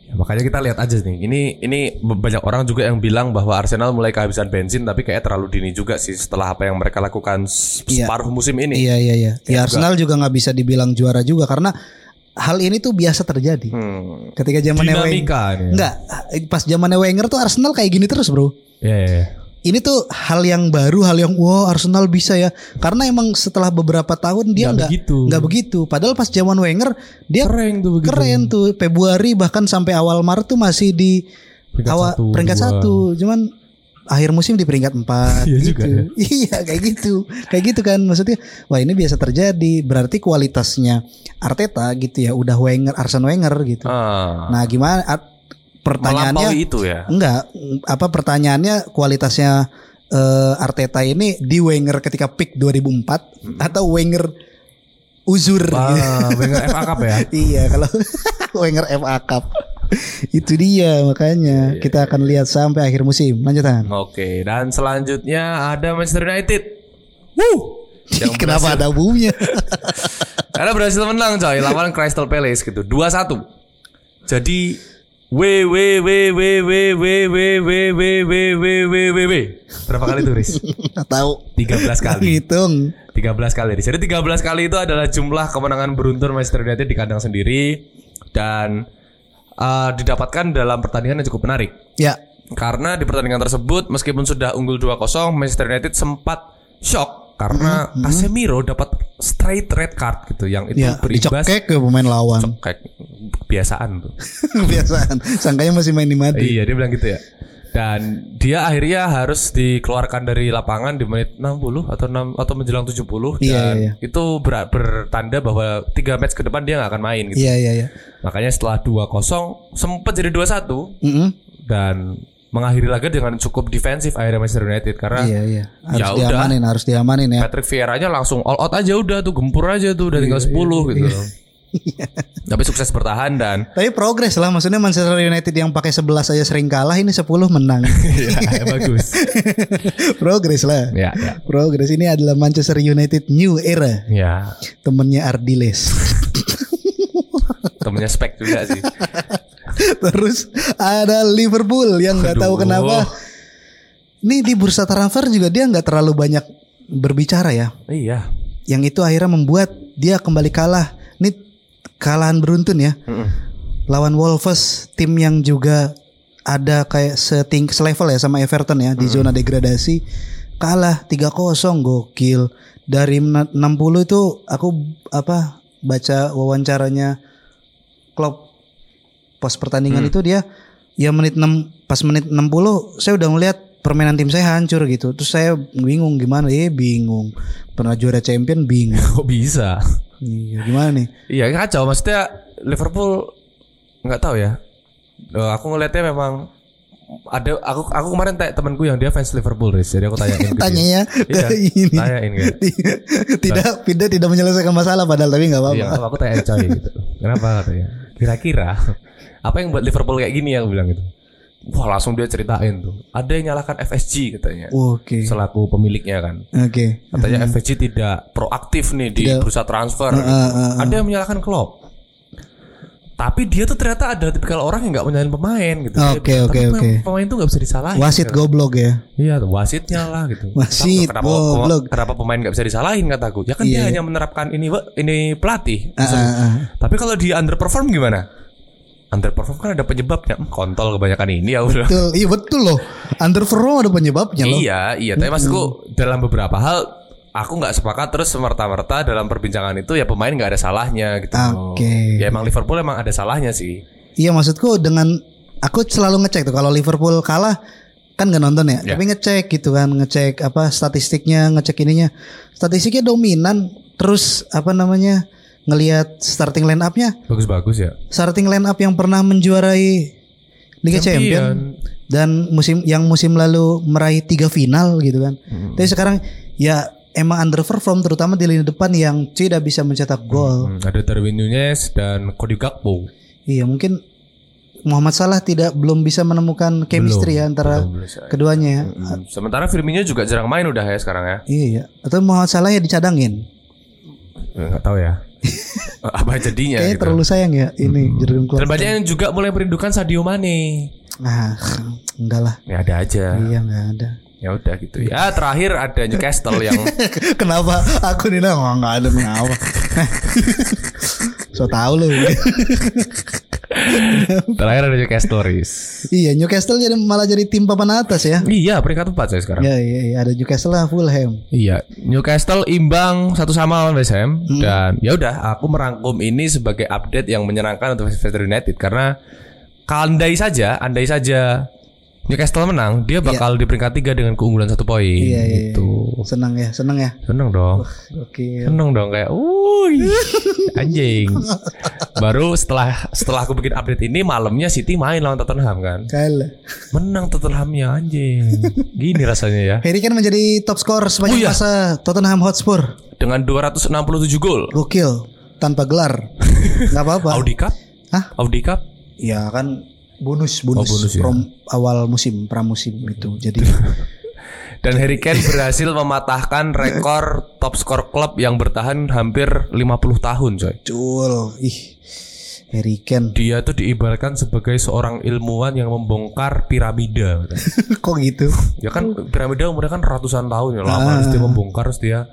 D: Ya, makanya kita lihat aja nih. Ini ini banyak orang juga yang bilang bahwa Arsenal mulai kehabisan bensin tapi kayak terlalu dini juga sih setelah apa yang mereka lakukan s-
B: Iya.
D: separuh musim ini.
B: Iya iya iya. Ya, Arsenal juga nggak bisa dibilang juara juga karena hal ini tuh biasa terjadi.
D: Hmm.
B: Ketika zaman Wenger
D: Dinamika ini.
B: enggak pas zamannya Wenger tuh Arsenal kayak gini terus, Bro.
D: Iya, iya, iya.
B: Ini tuh hal yang baru, hal yang wow Arsenal bisa ya. Karena emang setelah beberapa tahun dia
D: Nggak
B: nggak
D: begitu.
B: nggak begitu. Padahal pas zaman Wenger dia
D: Keren tuh begitu.
B: keren tuh Februari bahkan sampai awal Maret tuh masih di
D: Peringkat
B: awal
D: satu,
B: peringkat
D: dua.
B: satu cuman akhir musim di peringkat empat
D: Iya
B: gitu.
D: juga ya.
B: [laughs] iya kayak gitu kayak gitu kan maksudnya wah ini biasa terjadi berarti kualitasnya Arteta gitu ya udah Wenger Arsene Wenger gitu
D: Ah,
B: nah gimana Ar- pertanyaannya
D: melampaui itu ya.
B: Enggak, apa pertanyaannya kualitasnya eh, Arteta ini di Wenger ketika pick 2004 atau Wenger uzur gitu. [laughs]
D: Ah, Wenger FA Cup ya.
B: Iya kalau [laughs] Wenger FA Cup itu
D: Iya,
B: dia makanya kita akan lihat sampai akhir musim lanjutan.
D: Oke, dan selanjutnya ada Manchester United. Wuh. Yang
B: [laughs] Kenapa ada buminya?
D: Karena berhasil menang coy lawan Crystal Palace gitu. 2-1. Jadi we we we we we we we we we we we we we we berapa kali tuh Riz?
B: Nggak tahu.
D: 13 kali.
B: Hitung.
D: 13 kali. Jadi 13 kali itu adalah jumlah kemenangan beruntun Manchester United di kandang sendiri dan eh, didapatkan dalam pertandingan yang cukup menarik.
B: Ya,
D: Karena di pertandingan tersebut meskipun sudah unggul 2-0 Manchester United sempat shock karena Casemiro dapat straight red card gitu yang itu
B: ya
D: berimbas
B: dicokek ke pemain
D: [laughs]
B: lawan.
D: kayak kebiasaan tuh.
B: Kebiasaan. Sangkanya masih main di Madrid.
D: [laughs] Iya, dia bilang gitu ya. Dan dia akhirnya harus dikeluarkan dari lapangan di menit 60 atau 6 atau menjelang 70
B: Iya,
D: dan
B: iya, iya.
D: itu ber- bertanda bahwa tiga match ke depan dia nggak akan main gitu.
B: Iya, iya, iya.
D: Makanya setelah 2-0 sempat jadi 2-1
B: Mm-mm.
D: dan mengakhiri laga dengan cukup defensif akhirnya Manchester United karena
B: Iya, iya. Harus
D: Ya udah. Iya.
B: diamanin, harus diamanin ya.
D: Patrick Vieira-nya langsung all out aja udah tuh gempur aja tuh udah tinggal 10 gitu. Tapi sukses bertahan dan
B: Tapi progres lah maksudnya Manchester United yang pakai 11 aja sering kalah ini 10 menang. [laughs]
D: ya, bagus.
B: progres lah.
D: [laughs] Ya, ya.
B: Progres ini adalah Manchester United new era.
D: Ya,
B: Temennya Ardiles. [laughs]
D: temennya spek juga sih.
B: Terus ada Liverpool yang nggak tahu
D: Aduh.
B: kenapa. Nih di bursa transfer juga dia nggak terlalu banyak berbicara ya.
D: [laughs] Iya.
B: Yang itu akhirnya membuat dia kembali kalah. Ini kalahan beruntun ya.
D: Mm-mm.
B: Lawan Wolves tim yang juga ada kayak seting selevel ya sama Everton ya di zona degradasi. Kalah 3-0 gokil. Dari mena- 60 itu aku apa baca wawancaranya Klopp pos pertandingan itu dia ya menit 6 pas menit 60 saya udah ngeliat permainan tim saya hancur gitu. Terus saya bingung gimana ya bingung. Pernah juara champion bingung.
D: [laughs] Kok bisa?
B: Iya, gimana nih?
D: Iya kacau maksudnya Liverpool nggak tahu ya. Eh, aku ngelihatnya memang ada aku aku kemarin tanya temanku yang dia fans Liverpool Riz. jadi aku tanyain ke dia.
B: Tanyanya
D: Iya,
B: ya ke [laughs] ini.
D: tanyain gitu. kayak,
B: [laughs] tidak tidak tidak menyelesaikan masalah padahal tapi nggak apa-apa.
D: Nah. Iya, aku aku tanya coy gitu. Kenapa katanya? Kira-kira [laughs] apa yang buat Liverpool kayak gini aku bilang gitu. Wah langsung dia ceritain tuh. Ada yang nyalahkan FSG katanya.
B: Oke.
D: Selaku pemiliknya kan.
B: Oke.
D: Katanya FSG tidak proaktif nih di
B: Hmm. Tidak.
D: bursa transfer. gitu.
B: ah, ah,
D: Ada yang menyalahkan Klopp. Tapi dia tuh ternyata ada tipikal orang yang nggak menyalahin pemain gitu. Dia bilang,
B: Oke, oke,
D: "Tapi
B: oke.
D: pemain- Pemain tuh nggak bisa disalahin.
B: Wasit goblok ya.
D: Iya, tuh, wasitnya lah gitu.
B: [laughs] Wasit,
D: kenapa,
B: goblok. Iya.
D: kenapa pemain nggak bisa disalahin kataku? Ya kan dia hanya menerapkan ini Wak, ini pelatih.
B: Ah, ah, ah.
D: Tapi kalau dia underperform gimana? Underperform kan ada penyebabnya. Hmm, kontol kebanyakan ini ya udah.
B: Betul. Iya betul loh. Underperform ada penyebabnya loh.
D: Iya, iya. Tapi maksudku dalam beberapa hal aku nggak sepakat terus semerta-merta dalam perbincangan itu ya pemain nggak ada salahnya gitu.
B: Oke.
D: Ya emang Liverpool emang ada salahnya sih.
B: Iya maksudku dengan aku selalu ngecek tuh kalau Liverpool kalah kan nggak nonton ya,
D: Ya.
B: tapi ngecek gitu kan, ngecek apa statistiknya, ngecek ininya. Statistiknya dominan, terus apa namanya ngelihat starting line up-nya,
D: Bagus-bagus ya.
B: starting line up yang pernah menjuarai Liga Champion. dan musim yang musim lalu meraih tiga final gitu kan. Tapi sekarang ya emang underperform terutama di lini depan yang tidak bisa mencetak gol.
D: Hmm, ada Darwin Nunez dan Cody Gakpo.
B: Iya mungkin Muhammad Salah tidak belum bisa menemukan chemistry ya antara
D: belum bisa.
B: keduanya ya.
D: Hmm, Sementara Firmino juga jarang main udah ya sekarang ya.
B: Iya, iya. atau Muhammad Salah ya dicadangin.
D: Eh, Nggak tahu ya. [laughs] Apa jadinya
B: Kayaknya
D: gitu.
B: terlalu sayang ya ini
D: Dan
B: Jurgen Klopp.
D: banyak yang juga mulai merindukan Sadio Mane.
B: Ah, enggak lah.
D: Ya ada aja.
B: Iya enggak ada.
D: Ya udah gitu ya. Terakhir ada Newcastle yang
B: [laughs] kenapa aku nih nang enggak ada kenapa? [laughs] so tau lu. [laughs]
D: terakhir ada Newcastle Riz.
B: iya, Newcastle jadi malah jadi tim papan atas ya.
D: Iya peringkat 4 saya sekarang.
B: Ya, iya, iya, ada Newcastle lah Fulham.
D: Iya Newcastle imbang satu sama lawan West Ham
B: Hmm.
D: dan ya udah aku merangkum ini sebagai update yang menyenangkan untuk Manchester United karena andai saja andai saja Newcastle menang dia bakal di peringkat 3 dengan keunggulan satu poin
B: Iya, iya, iya.
D: gitu.
B: Senang ya, senang ya.
D: Seneng dong.
B: Oke.
D: Seneng dong kayak wuih
B: [laughs]
D: anjing. Baru setelah setelah aku bikin update ini malamnya City main lawan Tottenham kan.
B: Kalah.
D: Menang Tottenhamnya anjing. Gini rasanya ya.
B: Harry Kane menjadi top skor sepanjang
D: iya.
B: masa Tottenham Hotspur.
D: Dengan 267 gol.
B: Gokil, tanpa
D: [laughs]
B: gelar. Nggak apa-apa.
D: Audi Cup?
B: Hah?
D: Audi Cup?
B: Ya kan bonus bonus,
D: Oh, bonus ya.
B: prom- awal musim pramusim itu.
D: [laughs]
B: Jadi
D: Dan Harry Kane berhasil mematahkan rekor top skor klub yang bertahan hampir 50 tahun, coy.
B: cul, ih. Harry Kane. [laughs]
D: Dia tuh diibaratkan sebagai seorang ilmuwan yang membongkar piramida. katanya.
B: Kok gitu?
D: Ya kan piramida umurnya kan ratusan tahun ya lama harus
B: Ah.
D: dia membongkar harus dia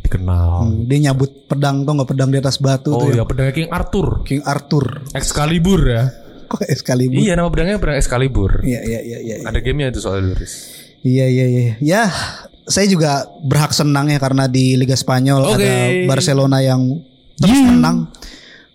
D: dikenal.
B: Dia nyabut pedang tuh nggak pedang di atas batu
D: oh
B: tuh ya.
D: ya pedangnya King Arthur,
B: King Arthur.
D: Excalibur ya.
B: Kok Excalibur?
D: Iya nama pedangnya pedang Excalibur.
B: Iya iya iya iya.
D: Ada gamenya itu soal Luris.
B: Iya iya iya. Ya, saya juga berhak senang ya karena di Liga Spanyol
D: Oke.
B: ada Barcelona yang terus menang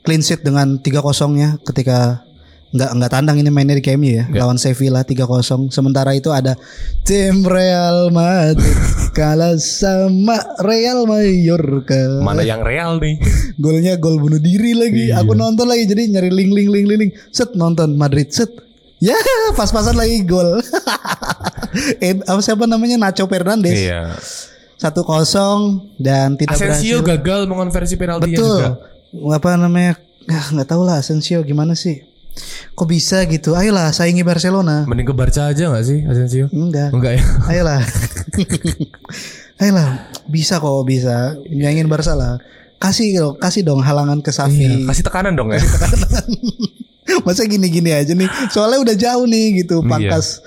B: clean sheet dengan 3-0 ya ketika nggak nggak tandang ini mainnya di KMU ya lawan Sevilla 3-0. Sementara itu ada tim Real Madrid kalah sama Real Mallorca.
D: Mana yang real nih?
B: Golnya gol bunuh diri
D: Iya.
B: lagi. Aku nonton lagi jadi nyari link link link link link. Set nonton Madrid set. Ya [laughs] pas-pasan lagi gol. [laughs] eh, apa siapa namanya Nacho Fernandes
D: iya.
B: satu kosong dan tidak
D: Asensio
B: berhasil.
D: gagal mengonversi penaltinya
B: Betul.
D: juga.
B: Apa namanya? Ah, nggak tahu lah Asensio gimana sih. Kok bisa gitu? Ayolah saingi Barcelona.
D: Mending ke Barca aja gak sih Asensio? [laughs]
B: Enggak.
D: Enggak ya.
B: Ayolah. [laughs] Ayolah, bisa kok bisa. Nyangin Barca lah. Kasih dong, kasih dong halangan ke Safi.
D: Iya. Kasih tekanan dong ya.
B: [laughs] Masa gini-gini aja nih. Soalnya udah jauh nih
D: Iya.
B: gitu pangkas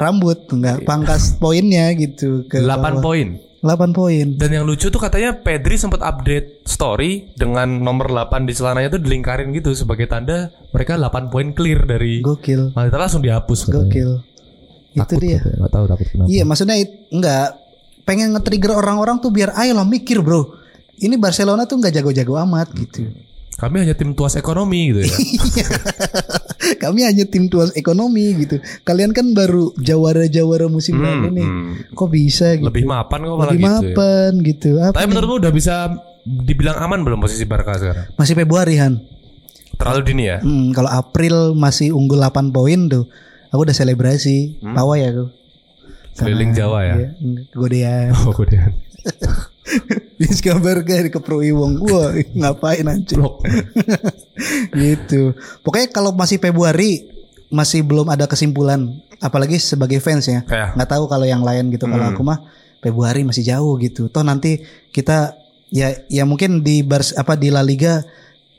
B: rambut enggak pangkas poinnya gitu ke
D: 8 poin.
B: 8 poin.
D: Dan yang lucu tuh katanya Pedri sempat update story dengan nomor 8 di celananya tuh dilingkarin gitu sebagai tanda mereka 8 poin clear dari
B: Gokil.
D: Madrid langsung dihapus katanya.
B: Gokil. Itu gitu dia.
D: Gak tahu takut ya. kenapa.
B: Iya, maksudnya it- enggak pengen nge-trigger orang-orang tuh biar ayolah mikir, Bro. Ini Barcelona tuh nggak jago-jago amat gitu. Iya.
D: Kami hanya tim tuas ekonomi
B: [laughs]
D: gitu ya.
B: Kami hanya tim tuas ekonomi gitu. Kalian kan baru jawara-jawara musim lalu nih. Kok bisa gitu?
D: Hmm, Lebih mapan kok malah
B: Iya, Lebih
D: gitu. ya.
B: mapan gitu. Apa
D: Tapi
B: nih?
D: menurutmu udah bisa dibilang aman belum posisi Barca sekarang?
B: Masih Februari, Han.
D: Terlalu dini
B: [laughs]
D: ya.
B: Hmm, kalau April masih unggul 8 poin tuh. Aku udah selebrasi. Pawai ya aku.
D: Keliling Jawa ya.
B: Iya, enggak, Godean. [laughs]
D: Oh, kemudian.
B: Bis kabar ke keproi wong gua ngapain anjir. [laughs] gitu. Pokoknya kalau masih Februari masih belum ada kesimpulan apalagi sebagai fans ya.
D: Iya.
B: Nggak tahu kalau yang lain gitu.
D: Hmm.
B: Kalau aku mah Februari masih jauh gitu. Toh nanti kita ya ya mungkin di Bars apa di La Liga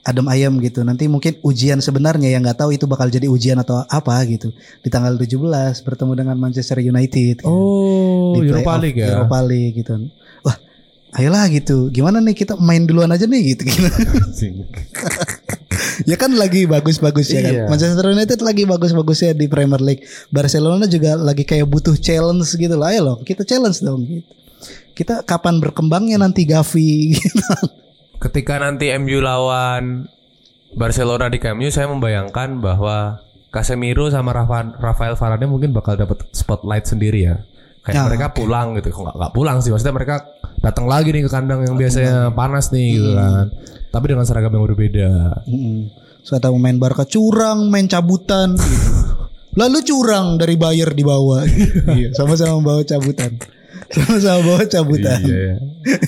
B: adem ayam gitu. Nanti mungkin ujian sebenarnya yang nggak tahu itu bakal jadi ujian atau apa gitu. Di tanggal 17 bertemu dengan Manchester United. gitu
D: Oh,
B: di
D: Europa
B: playoff
D: League ya.
B: Europa League gitu. Wah, ayolah gitu. Gimana nih kita main duluan aja nih gitu. [laughs] ya kan lagi bagus-bagus ya kan.
D: Iya.
B: Manchester United lagi bagus-bagusnya di Premier League. Barcelona juga lagi kayak butuh challenge gitu lah. Ayo loh, kita challenge dong gitu. Kita kapan berkembangnya nanti Gavi gitu.
D: Ketika nanti MU lawan Barcelona di Camp Nou, saya membayangkan bahwa Casemiro sama Rafa, Rafael Varane mungkin bakal dapat spotlight sendiri ya. Kayak
B: Ya,
D: mereka pulang gitu. Kok nggak- nggak pulang sih? Maksudnya mereka datang lagi nih ke kandang yang biasanya panas nih gitu kan. Tapi dengan seragam yang berbeda.
B: Mm-mm. Suka tahu main Barca curang, main cabutan gitu. Lalu curang dari Bayer
D: [laughs]
B: dibawa. Iya, sama-sama bawa cabutan. Sama-sama bawa cabutan.
D: Iya.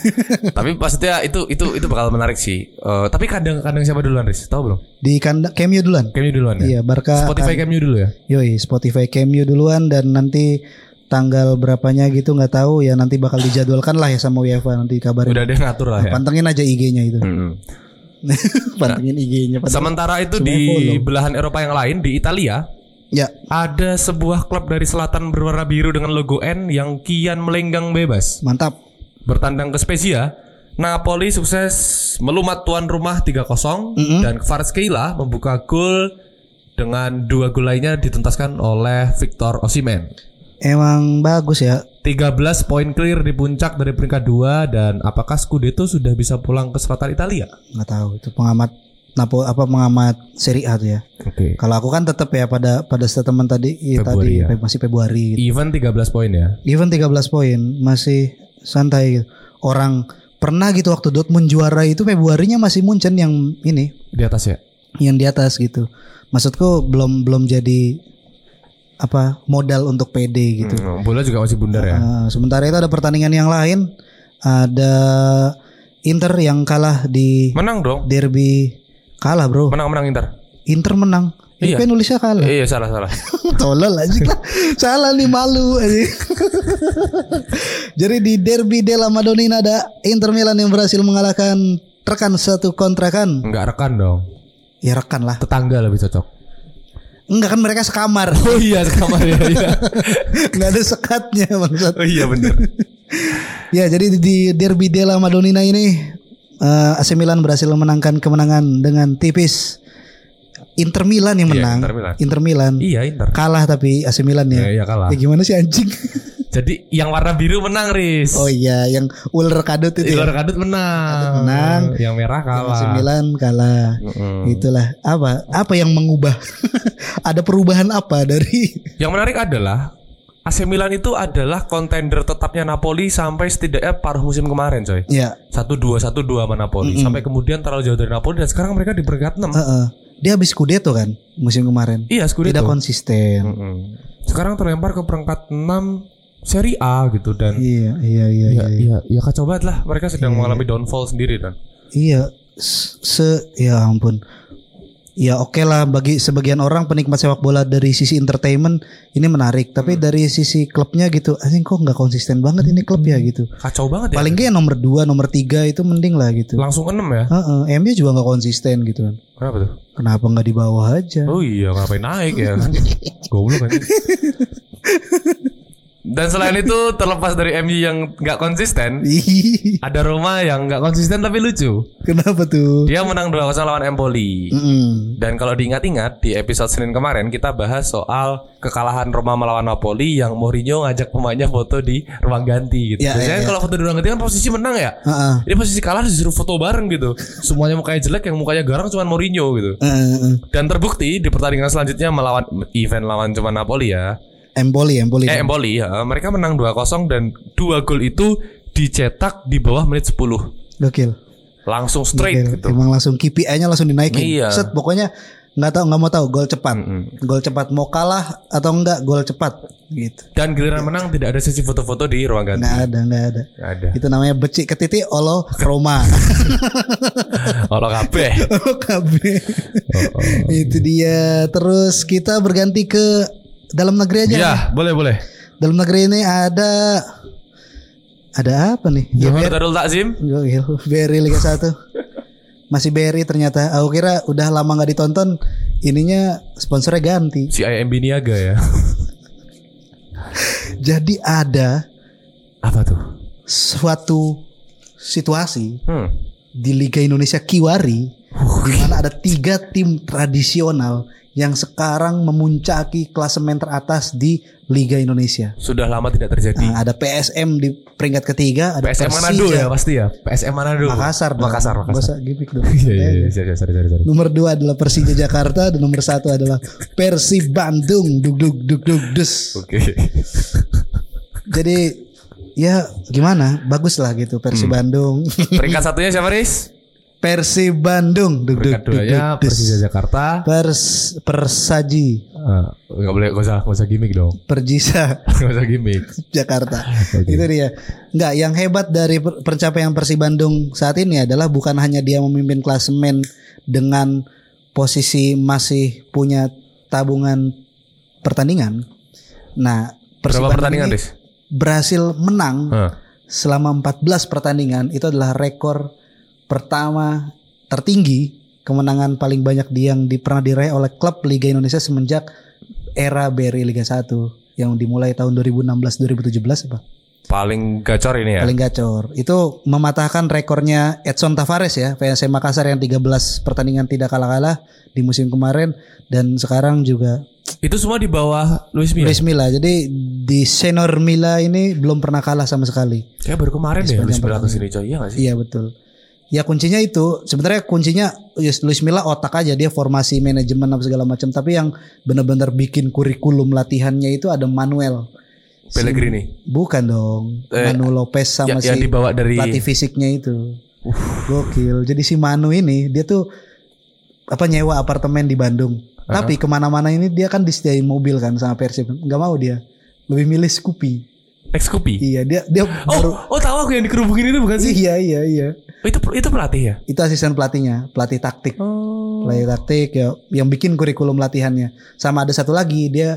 D: [laughs] tapi maksudnya itu itu itu bakal menarik sih. Eh, tapi kandang-kandang siapa duluan, Riz? Tahu belum?
B: Di kandang Cameo duluan.
D: Camp Nou duluan ya.
B: Iya, Barca
D: Spotify Camp Nou dulu ya.
B: Yoi, Spotify Cameo duluan dan nanti tanggal berapanya gitu nggak tahu ya nanti bakal dijadwalkan lah ya sama UEFA nanti kabarin.
D: Udah ada yang ngatur lah ya.
B: Pantengin aja IG-nya
D: [laughs]
B: itu.
D: Mm-mm.
B: Pantengin IG-nya. pantengin.
D: Sementara itu
B: Semua
D: di
B: follow.
D: belahan Eropa yang lain di Italia
B: Ya,
D: ada sebuah klub dari selatan berwarna biru dengan logo N yang kian melenggang bebas.
B: mantap.
D: Bertandang ke Spezia, Napoli sukses melumat tuan rumah 3-0 dan Kvaratskhelia membuka gol dengan dua gol lainnya dituntaskan oleh Victor Osimhen.
B: Emang bagus ya.
D: 13 poin clear di puncak dari peringkat 2 dan apakah Scudetto sudah bisa pulang ke selatan Italia?
B: nggak tahu itu pengamat Napo apa pengamat Serie A tuh ya.
D: Oke.
B: Kalau aku kan tetap ya pada pada statement tadi iya,
D: Februari ya.
B: tadi Fe- masih Februari gitu.
D: Even 13 poin ya.
B: Even 13 poin masih santai gitu. Orang pernah gitu waktu Dortmund juara itu Februarinya masih Munchen yang ini
D: Di atas ya.
B: yang di atas gitu. Maksudku belum belum jadi apa modal untuk PD gitu.
D: Hmm, bola juga masih bundar ya.
B: Nah, sementara itu ada pertandingan yang lain, ada Inter yang kalah di
D: Menang dong.
B: derby kalah bro.
D: Menang menang Inter.
B: Inter menang.
D: Iya.
B: Ini kan nulisnya kalah.
D: Oh. Eh, iya salah salah.
B: [laughs] Tolol aja lah. Salah nih malu. anjing. Jadi di derby della Madonnina ada Inter Milan yang berhasil mengalahkan rekan satu kontrakan.
D: Enggak rekan dong.
B: Ya rekan lah.
D: Tetangga lebih cocok.
B: Enggak kan mereka sekamar.
D: [laughs] Oh iya kamar ya.
B: [laughs]
D: Iya.
B: Enggak ada sekatnya maksud.
D: oh iya bener.
B: Ya jadi di derby della Madonnina ini eh, AC Milan berhasil menangkan kemenangan dengan tipis Inter Milan
D: Iya,
B: yang menang.
D: Inter Milan.
B: Inter Milan.
D: [laughs] Iya Inter.
B: Kalah tapi AC Milan ya.
D: Iya, iya, kalah.
B: Ya gimana sih anjing? [laughs]
D: Jadi yang warna biru menang Riz.
B: oh iya, yang ular kadut itu.
D: Luar
B: Ya.
D: kadut menang.
B: Kadut menang.
D: Yang merah Iya, kalah.
B: Yang
D: Hmm.
B: AC Milan kalah.
D: Mm-mm.
B: Itulah apa? Apa yang mengubah? [laughs] Ada perubahan apa dari
D: Yang menarik adalah AC Milan itu adalah kontender tetapnya Napoli sampai setidaknya paruh musim kemarin coy.
B: ya?
D: Satu dua satu dua sama Napoli sampai kemudian terlalu jauh dari Napoli dan sekarang mereka di peringkat enam.
B: heeh. Dia habis Scudetto kan musim kemarin.
D: Iya Scudetto.
B: Tidak konsisten.
D: Mm-mm. Sekarang terlempar ke peringkat 6 Serie A gitu dan
B: Iya, iya, iya, iya.
D: ya, ya, ya kacau banget lah mereka sedang mengalami downfall sendiri dan
B: Iya, se se- ya ampun. Ya oke lah bagi sebagian orang penikmat sepak bola dari sisi entertainment ini menarik, tapi dari sisi klubnya gitu, anjing kok nggak konsisten banget ini klub ya gitu.
D: kacau banget ya.
B: Paling nggak yang nomor 2, nomor 3 itu mending lah gitu.
D: langsung 6 ya.
B: Heeh, MU juga nggak konsisten gitu kan.
D: Kenapa tuh?
B: Kenapa nggak di bawah aja?
D: Oh iya ngapain naik
B: [laughs]
D: ya kan? Goblok aja. Dan selain itu terlepas dari MU yang nggak konsisten,
B: Ih, [laughs]
D: ada Roma yang nggak konsisten tapi lucu.
B: Kenapa tuh?
D: Dia menang 2-0 lawan Empoli.
B: Mm-mm.
D: Dan kalau diingat-ingat di episode Senin kemarin kita bahas soal kekalahan Roma melawan Napoli yang Mourinho ngajak pemainnya foto di ruang ganti gitu.
B: Ya,
D: Biasanya
B: ya, ya.
D: kalau foto di ruang ganti kan posisi menang ya.
B: Heeh.
D: Ini posisi kalah disuruh foto bareng gitu. Semuanya mukanya jelek, yang mukanya garang cuma Mourinho gitu.
B: Heeh, heeh.
D: Dan terbukti di pertandingan selanjutnya melawan event lawan cuma Napoli ya.
B: Empoli, Empoli.
D: Eh Empoli ya. Mereka menang 2-0 dan dua gol itu dicetak di bawah menit 10.
B: Gokil.
D: Langsung straight
B: Gokil.
D: gitu.
B: Emang langsung KPI-nya langsung dinaikin.
D: Iya.
B: Set pokoknya nggak tahu nggak mau tahu gol cepat. Gol cepat mau kalah atau enggak gol cepat gitu.
D: Dan giliran menang tidak ada sesi foto-foto di ruang ganti.
B: Nggak ada nggak ada.
D: Nggak ada.
B: Itu namanya becik ke titik olo Roma. [laughs]
D: Kalau [laughs] kabeh.
B: Olo KB.
D: Oh,
B: Itu dia. Terus kita berganti ke dalam negeri aja.
D: Iya, boleh boleh.
B: Dalam negeri ini ada ada apa nih? Ya,
D: Johor Darul Takzim.
B: Gokil. BRI Liga 1. Masih BRI ternyata. Aku kira udah lama nggak ditonton. Ininya sponsornya ganti.
D: Si IMB Niaga ya.
B: Jadi ada
D: Apa tuh?
B: suatu situasi
D: Hmm.
B: di Liga Indonesia Kiwari di mana ada tiga tim tradisional yang sekarang memuncaki klasemen teratas di Liga Indonesia.
D: Sudah lama tidak terjadi.
B: Nah, ada PSM di peringkat ketiga, ada
D: PSM
B: Persija,
D: Manado ya pasti ya. PSM Manado.
B: Makassar, dong.
D: Makassar,
B: Nggak
D: Makassar.
B: usah gimmick dong. Eh,
D: Iya [laughs] iya iya. Sorry sorry sorry. sorry.
B: Nomor dua adalah Persija Jakarta dan nomor satu adalah Persib Bandung. Duk duk duk duk des. [laughs]
D: Oke.
B: Jadi ya gimana? Bagus lah gitu Persib
D: Hmm.
B: Bandung.
D: Peringkat satunya siapa Riz?
B: Persib Bandung duk
D: Peringkat duanya
B: des.
D: Persija Jakarta.
B: Pers Persaji
D: Eh, Nggak boleh nggak usah nggak usah gimmick dong. [laughs]
B: Perjisa [laughs]
D: Nggak usah gimmick.
B: Jakarta.
D: Oke.
B: Itu dia. Enggak, yang hebat dari per- pencapaian Persib Bandung saat ini adalah bukan hanya dia memimpin klasemen dengan posisi masih punya tabungan pertandingan. Nah, Persib
D: Berapa
B: Bandung
D: pertandingan
B: ini
D: Riz?
B: berhasil menang
D: Hah.
B: selama 14 pertandingan itu adalah rekor pertama tertinggi kemenangan paling banyak di- yang di, pernah diraih oleh klub Liga Indonesia semenjak era BRI Liga 1 yang dimulai tahun 2016-2017 apa?
D: Paling gacor ini ya.
B: Paling gacor. Itu mematahkan rekornya Edson Tavares ya, PSM Makassar yang 13 pertandingan tidak kalah-kalah di musim kemarin dan sekarang juga
D: Itu semua di bawah Luis Mia.
B: Luis Milla. Jadi di Senor Milla ini belum pernah kalah sama sekali.
D: Kayak baru kemarin deh
B: Milla
D: Luis Mia
B: pertama.
D: ke sini coy. Iya nggak sih?
B: Iya betul. Ya kuncinya itu sebenarnya kuncinya Yus- Luis Milla otak aja dia formasi manajemen apa segala macam tapi yang benar-benar bikin kurikulum latihannya itu ada Manuel. Si-
D: Pellegrini.
B: bukan dong.
D: Eh,
B: Manu Lopez
D: Ya-
B: sama si
D: yang dibawa dari
B: pelatih fisiknya itu. Gokil. Jadi si Manu ini dia tuh apa nyewa apartemen di Bandung. Tapi kemana-mana ini dia kan disediain mobil kan sama Persib. Nggak mau dia. Lebih milih Scoopy.
D: Ex Kupi.
B: Iya dia dia baru.
D: Oh, oh tahu aku yang dikerubungin itu bukan sih?
B: Iya iya iya.
D: Itu itu pelatih ya?
B: itu asisten pelatihnya, pelatih taktik,
D: Oh.
B: pelatih taktik ya, yang bikin kurikulum latihannya. Sama ada satu lagi dia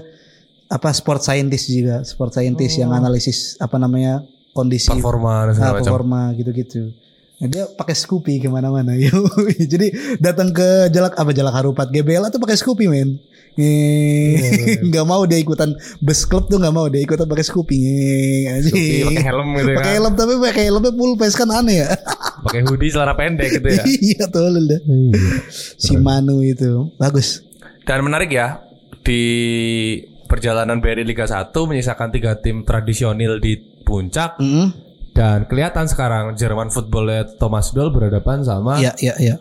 B: apa sport scientist juga, sport scientist yang analisis apa namanya kondisi
D: Performa dan
B: ah,
D: segala macam.
B: performa gitu-gitu. Nah, dia pakai Scoopy kemana-mana. [laughs] Yoi. Jadi datang ke jalak apa jalak harupat GBL tuh pakai Scoopy men.
D: Iya,
B: Nih, [laughs] nggak mau dia ikutan bus club tuh nggak mau dia ikutan pakai Scoopy. Nih,
D: Scoopy,
B: anjing.
D: pakai helm gitu ya,
B: Iya. Pakai
D: kan?
B: helm tapi pakai helmnya full face kan aneh ya.
D: pakai hoodie celana pendek gitu ya
B: [laughs] Iya tolol dah. Si Manu itu bagus.
D: Dan menarik ya di perjalanan BRI Liga 1 menyisakan tiga tim tradisional di puncak
B: Mm-mm.
D: dan kelihatan sekarang Jerman footballnya Thomas Doll berhadapan sama
B: Iya iya iya.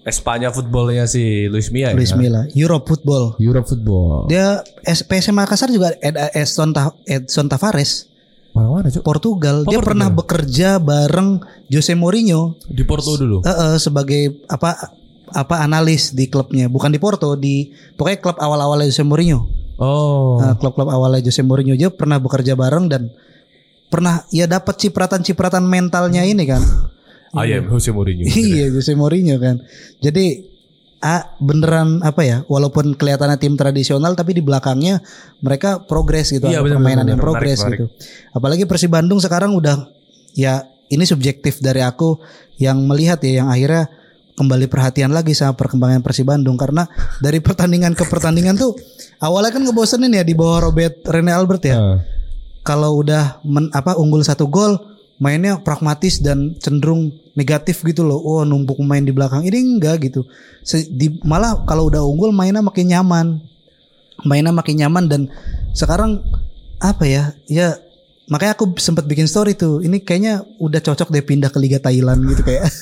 D: Espanya footballnya si Luis Mia. ya?
B: Luis Milla, Euro football.
D: Europe football.
B: Dia S- PSM Makassar juga Ed- Edson, Ta- Edson Tavares
D: Mana-mana Cuk?
B: Portugal. dia
D: Oh, Portugal.
B: pernah bekerja bareng Jose Mourinho
D: Di Porto dulu.
B: eh, eh, sebagai apa apa analis di klubnya, bukan di Porto, di pokoknya klub awal-awalnya Jose Mourinho.
D: Oh.
B: Nah, klub-klub awalnya Jose Mourinho dia pernah bekerja bareng dan pernah ya dapat cipratan-cipratan mentalnya ini kan.
D: I am Ah, Jose Mourinho. gitu ya.
B: Iya Jose Mourinho kan. Jadi ah, beneran apa ya? Walaupun kelihatannya tim tradisional tapi di belakangnya mereka progres gitu.
D: Iya,
B: ada
D: benar,
B: permainan
D: benar,
B: yang
D: benar.
B: progres
D: Menarik,
B: gitu. Apalagi Persib Bandung sekarang udah ya ini subjektif dari aku yang melihat ya yang akhirnya kembali perhatian lagi sama perkembangan Persib Bandung karena dari pertandingan ke pertandingan tuh awalnya kan ngebosenin ya di bawah Robert Rene Albert ya
D: Eh,
B: kalau udah men- apa unggul satu gol mainnya pragmatis dan cenderung negatif gitu loh. Oh numpuk main di belakang ini enggak gitu. Se- di- malah kalau udah unggul mainnya makin nyaman, mainnya makin nyaman dan sekarang apa ya ya makanya aku sempat bikin story tuh. Ini kayaknya udah cocok deh pindah ke Liga Thailand gitu kayak [laughs]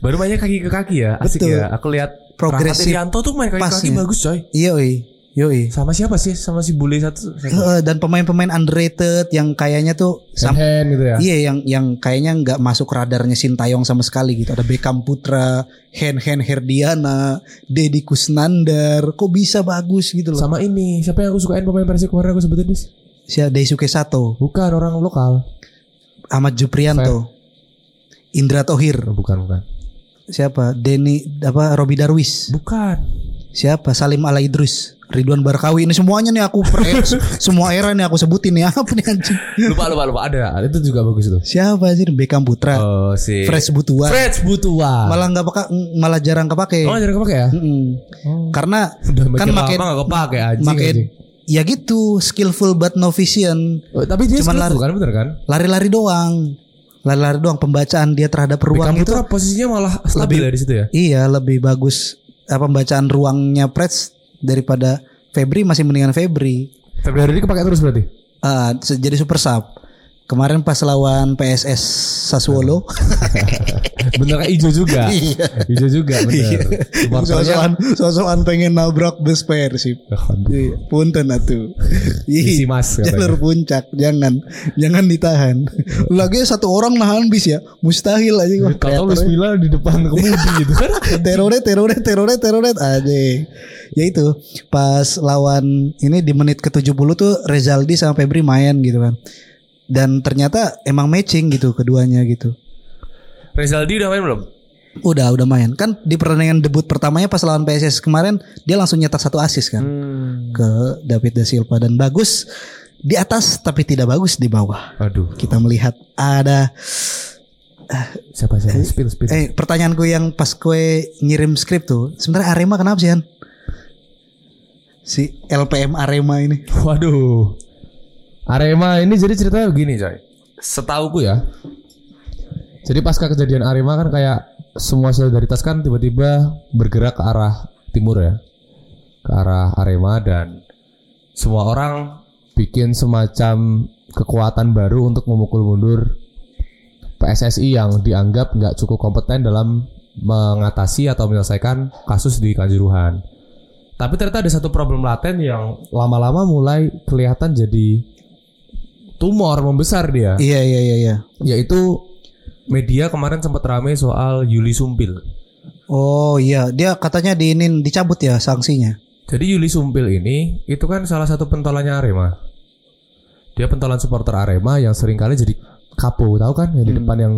D: Baru banyak kaki ke kaki ya. Asik
B: Betul.
D: ya. Aku lihat
B: Progresif
D: Rahmat Irianto tuh main kaki ke kaki
B: pasnya.
D: bagus coy.
B: yoi yoi.
D: Sama siapa sih? Sama si Bule satu. satu.
B: Iya, Heeh, Dan pemain-pemain underrated yang kayaknya tuh sam-
D: Hand gitu ya.
B: Iya yang yang kayaknya nggak masuk radarnya Sintayong sama sekali gitu. Ada Beckham Putra, Hen Hen Herdiana, Deddy Kusnandar. Kok bisa bagus gitu loh.
D: Sama ini. Siapa yang aku sukain pemain Persib kemarin aku sebutin Dis?
B: Si Daisuke Sato,
D: Bukan orang lokal.
B: Ahmad Juprianto, Indra Tohir,
D: Bukan, bukan.
B: siapa? Denny apa Robi Darwis,
D: Bukan.
B: siapa? Salim Ala Idrus, Ridwan Barkawi. Ini semuanya nih aku per eh,
D: [laughs]
B: se- semua era nih aku sebutin nih [laughs] apa nih anjing.
D: Lupa lupa lupa ada. Itu juga bagus itu.
B: Siapa sih Beckham Putra?
D: Oh si
B: Fresh Butuan.
D: Fresh Butua.
B: Malah nggak pakai malah jarang kepake.
D: Oh jangan kepake ya.
B: Mm-mm. Karena
D: Udah
B: Kan
D: kan
B: makin-
D: makin lama gak kepake anjing.
B: makin
D: anjing.
B: ya gitu skillful but no vision
D: Oh, tapi dia
B: cuman
D: cuman
B: lari.
D: kan bener kan?
B: lari-lari doang lari-lari doang pembacaan dia terhadap ruang
D: Beckham
B: itu
D: Putra posisinya malah stabil
B: lebih-
D: ya di situ ya.
B: iya lebih bagus apa pembacaan ruangnya Preds daripada Febri masih mendingan Febri
D: Februari ini kepake terus berarti.
B: Ah, se- jadi super sub kemarin pas lawan PSS Sassuolo
D: [laughs] bener kan hijau [laughs] juga.
B: [laughs]
D: hijau juga bener. Supporternya
B: sosokan sosokan Iya. pengen nabrak bus Persib Iya, punten atuh
D: Isi mas katanya.
B: jalur puncak jangan jangan ditahan lagi satu orang nahan bis ya mustahil aja Wah,
D: Kalau Luis Milla di depan kemudi
B: [laughs]
D: gitu kan.
B: teroret teroret teroret teroret aja ya itu pas lawan ini di menit ke 70 tuh Rezaldi sama Febri main gitu kan dan ternyata emang matching gitu keduanya gitu
D: Rezaldi udah main belum?
B: udah udah main kan di pertandingan debut pertamanya pas lawan PSS kemarin dia langsung nyetak satu assist kan
D: Hmm.
B: ke David da Silva dan bagus di atas tapi tidak bagus di bawah
D: Aduh,
B: kita melihat ada
D: siapa siapa? Spill spill.
B: eh pertanyaanku yang pas kue ngirim skrip tuh sebenarnya Arema kenapa sih Han? si LPM Arema ini
D: Waduh. Arema ini jadi ceritanya begini, coy. Setauku ya. Jadi pasca kejadian Arema kan kayak semua solidaritas kan tiba-tiba bergerak ke arah timur ya. Ke arah Arema dan semua orang bikin semacam kekuatan baru untuk memukul mundur PSSI yang dianggap nggak cukup kompeten dalam mengatasi atau menyelesaikan kasus di Kanjuruhan. Tapi ternyata ada satu problem laten yang lama-lama mulai kelihatan jadi tumor membesar dia,
B: iya iya iya iya
D: yaitu media kemarin sempat rame soal Yuli Sumpil.
B: oh iya dia katanya diinin dicabut ya sanksinya
D: Jadi Yuli Sumpil ini itu kan salah satu pentolannya Arema. Dia pentolan supporter Arema yang seringkali jadi kapo, tahu kan yang di
B: Hmm.
D: depan yang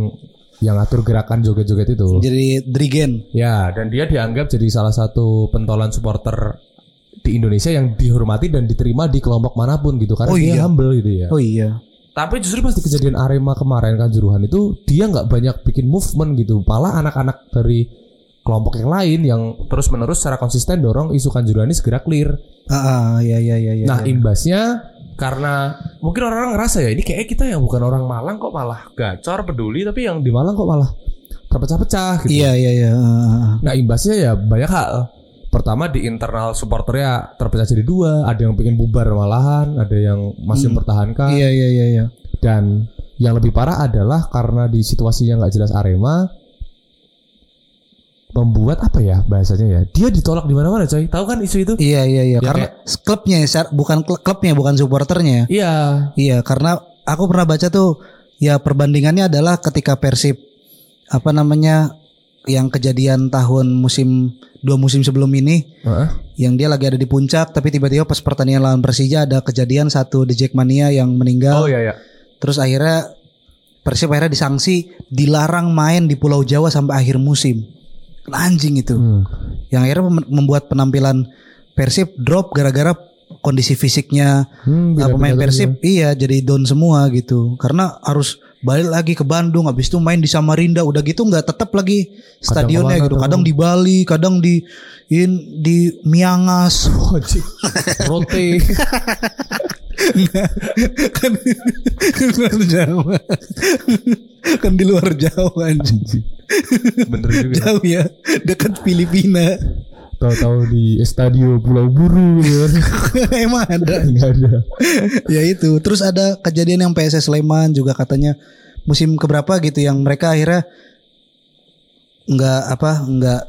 D: yang ngatur gerakan joget-joget itu.
B: jadi Drigen
D: Ya, dan dia dianggap jadi salah satu pentolan supporter di Indonesia yang dihormati dan diterima di kelompok manapun gitu karena
B: Oh,
D: dia
B: iya.
D: humble gitu ya.
B: oh iya
D: Tapi justru pas di kejadian Arema kemarin kan juruhan itu dia nggak banyak bikin movement gitu. Malah anak-anak dari kelompok yang lain yang terus menerus secara konsisten dorong isu kanjuruhan ini segera clear.
B: Ah, ah, ya ya ya ya.
D: nah
B: ya.
D: imbasnya karena mungkin orang-orang ngerasa ya ini kayak kita yang bukan orang Malang kok malah gacor peduli tapi yang di Malang kok malah terpecah-pecah gitu.
B: Iya iya iya. ah, ah, ah.
D: Nah imbasnya ya banyak hal. Pertama di internal supporternya terpecah jadi dua, ada yang pengen bubar malahan, ada yang masih
B: Hmm.
D: mempertahankan.
B: Iya iya iya iya.
D: Dan yang lebih parah adalah karena di situasi yang nggak jelas Arema membuat apa ya bahasanya ya dia ditolak di mana-mana coy tahu kan isu itu
B: Iya iya iya.
D: Ya,
B: Karena klubnya ya, Sar. bukan kl- klubnya, bukan supporternya. ya.
D: iya
B: Iya, karena aku pernah baca tuh ya perbandingannya adalah ketika Persib apa namanya yang kejadian tahun musim dua musim sebelum ini
D: Heeh.
B: yang dia lagi ada di puncak tapi tiba-tiba pas pertandingan lawan Persija ada kejadian satu di Jackmania yang
D: oh
B: meninggal
D: iya iya
B: terus akhirnya Persib akhirnya disangsi dilarang main di Pulau Jawa sampai akhir musim anjing itu
D: Hmm.
B: yang akhirnya mem- membuat penampilan Persib drop gara-gara kondisi fisiknya
D: Hmm, beda-beda
B: Nah, pemain
D: lagi ya.
B: Persib iya jadi down semua gitu karena harus balik lagi ke Bandung habis itu main di Samarinda udah gitu nggak tetap lagi stadionnya
D: kemana,
B: gitu
D: kadang-
B: kadang di Bali kadang di in, di
D: [laughs]
B: Miangas
D: Oh, Rote
B: kan di luar Jawa kan di luar Jawa anjing
D: bener juga
B: jauh ya dekat Filipina [laughs]
D: tahu-tahu di Estadio Pulau Buru gitu
B: [laughs]
D: kan.
B: emang ada
D: nggak ada
B: ya itu terus ada kejadian yang PSS Sleman juga katanya musim keberapa gitu yang mereka akhirnya nggak apa nggak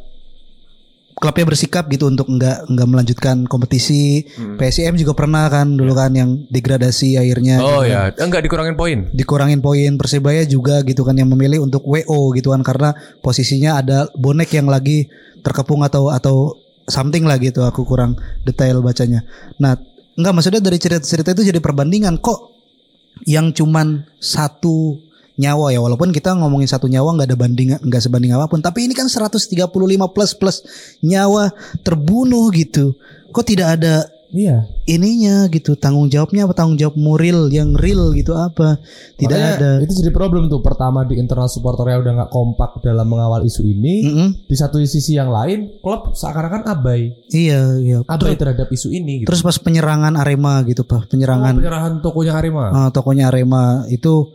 B: klubnya bersikap gitu untuk nggak nggak melanjutkan kompetisi
D: Hmm.
B: PSM juga pernah kan dulu kan yang degradasi akhirnya
D: oh
B: gitu.
D: ya enggak dikurangin poin
B: dikurangin poin Persebaya juga gitu kan yang memilih untuk WO gitu kan karena posisinya ada bonek yang lagi terkepung atau atau something lah gitu aku kurang detail bacanya. Nah, enggak maksudnya dari cerita-cerita itu jadi perbandingan kok yang cuman satu nyawa ya walaupun kita ngomongin satu nyawa nggak ada bandingan nggak sebanding apapun tapi ini kan 135 plus plus nyawa terbunuh gitu kok tidak ada
D: iya
B: ininya gitu tanggung jawabnya apa tanggung jawab muril yang real gitu apa
D: Makanya
B: tidak ada
D: itu jadi problem tuh pertama di internal supporternya udah nggak kompak dalam mengawal isu ini
B: Mm-mm.
D: di satu sisi yang lain klub seakan-akan abai
B: iya iya
D: abai
B: terus,
D: terhadap isu ini gitu.
B: terus pas penyerangan Arema gitu
D: Oh,
B: pak penyerangan
D: penyerahan tokonya Arema
B: eh, tokonya Arema itu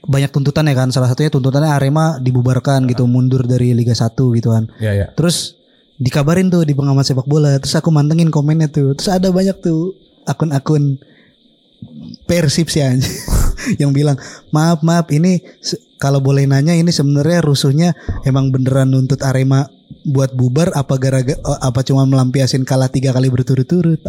B: banyak tuntutan ya kan salah satunya tuntutannya Arema dibubarkan gitu
D: Iya.
B: mundur dari Liga 1 gitu kan
D: ya ya
B: terus dikabarin tuh di pengamat sepak bola terus aku mantengin komennya tuh terus ada banyak tuh akun-akun persib sih anjing. [laughs] yang bilang maaf maaf ini se- kalau boleh nanya ini sebenarnya rusuhnya emang beneran nuntut Arema buat bubar apa gara apa cuma melampiasin kalah tiga kali berturut-turut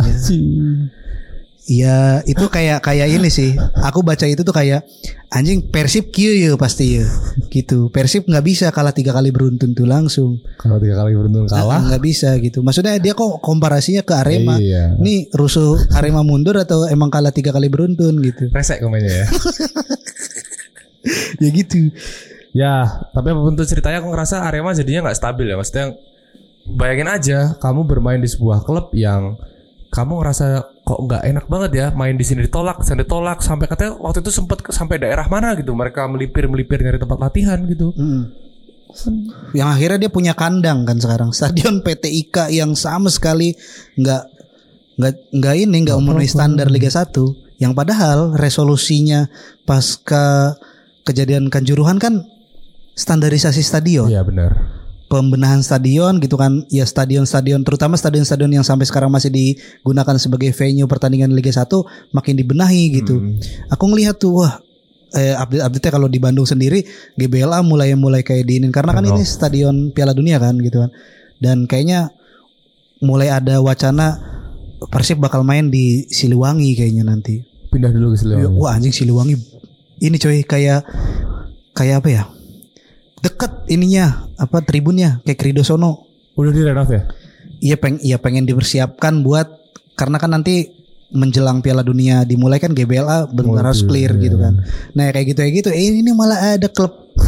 B: Iya itu kayak kayak ini sih aku baca itu tuh kayak anjing persib kieu ya pasti ya gitu persib nggak bisa kalah tiga kali beruntun tuh langsung
D: kalau tiga kali beruntun [laughs] kalah
B: nggak bisa gitu maksudnya dia kok komparasinya ke Arema
D: iya
B: nih rusuh Arema mundur atau emang kalah tiga kali beruntun gitu
D: resek komennya ya
B: [laughs] ya gitu
D: [laughs] ya tapi apapun tuh ceritanya aku ngerasa Arema jadinya nggak stabil ya maksudnya bayangin aja kamu bermain di sebuah klub yang kamu ngerasa kok nggak enak banget ya main di sini ditolak sana ditolak sampai katanya waktu itu sempet ke- sampai daerah mana gitu mereka melipir melipir nyari tempat latihan gitu
B: yang akhirnya dia punya kandang kan sekarang stadion PT IKA yang sama sekali nggak nggak nggak ini nggak memenuhi standar Liga 1 yang padahal resolusinya pasca kejadian kanjuruhan kan standarisasi stadion
D: iya benar
B: pembenahan stadion gitu kan ya stadion-stadion terutama stadion-stadion yang sampai sekarang masih digunakan sebagai venue pertandingan Liga 1 makin dibenahi gitu.
D: Hmm.
B: Aku ngelihat tuh wah eh, update-update kalau di Bandung sendiri GBLA mulai mulai kayak diinin karena kan
D: Benar.
B: ini stadion Piala Dunia kan gitu kan. Dan kayaknya mulai ada wacana Persib bakal main di Siliwangi kayaknya nanti.
D: pindah dulu ke Siliwangi
B: Wah anjing Siliwangi ini coy kayak kayak apa ya? Deket ininya apa tribunnya kayak Kridosono.
D: udah direnov ya
B: Iya peng, iya pengen dipersiapkan buat karena kan nanti menjelang Piala Dunia dimulai kan GBLA benar
D: Waduh,
B: harus clear
D: iya.
B: gitu kan. Nah kayak gitu kayak gitu. Eh, ini malah ada klub [laughs]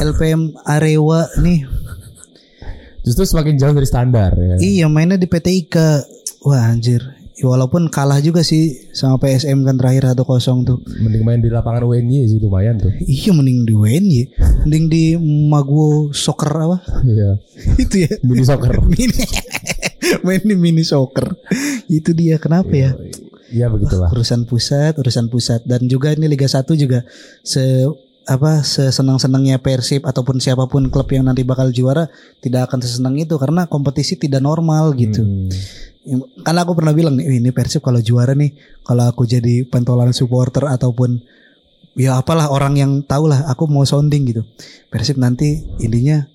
B: LPM Arewa nih.
D: justru semakin jauh dari standar ya
B: Iya mainnya di PT Ika. Wah anjir. walaupun kalah juga sih sama PSM kan terakhir 1-0 tuh.
D: Mending main di lapangan UNY sih lumayan tuh. [laughs]
B: Iya mending di UNY, mending di Maguwo Soccer apa? [laughs]
D: Iya.
B: Itu ya.
D: Mini soccer.
B: Mini [laughs] main di mini soccer. Itu dia kenapa ya? Ah,
D: Iya begitulah.
B: Urusan pusat, urusan pusat dan juga ini Liga 1 juga se apa sesenang-senangnya Persib ataupun siapapun klub yang nanti bakal juara tidak akan sesenang itu karena kompetisi tidak normal gitu.
D: Hmm.
B: Karena kan aku pernah bilang nih, "Wih, ini Persib kalau juara nih, kalau aku jadi pentolan supporter ataupun ya apalah orang yang tahu lah, aku mau sounding gitu. Persib nanti intinya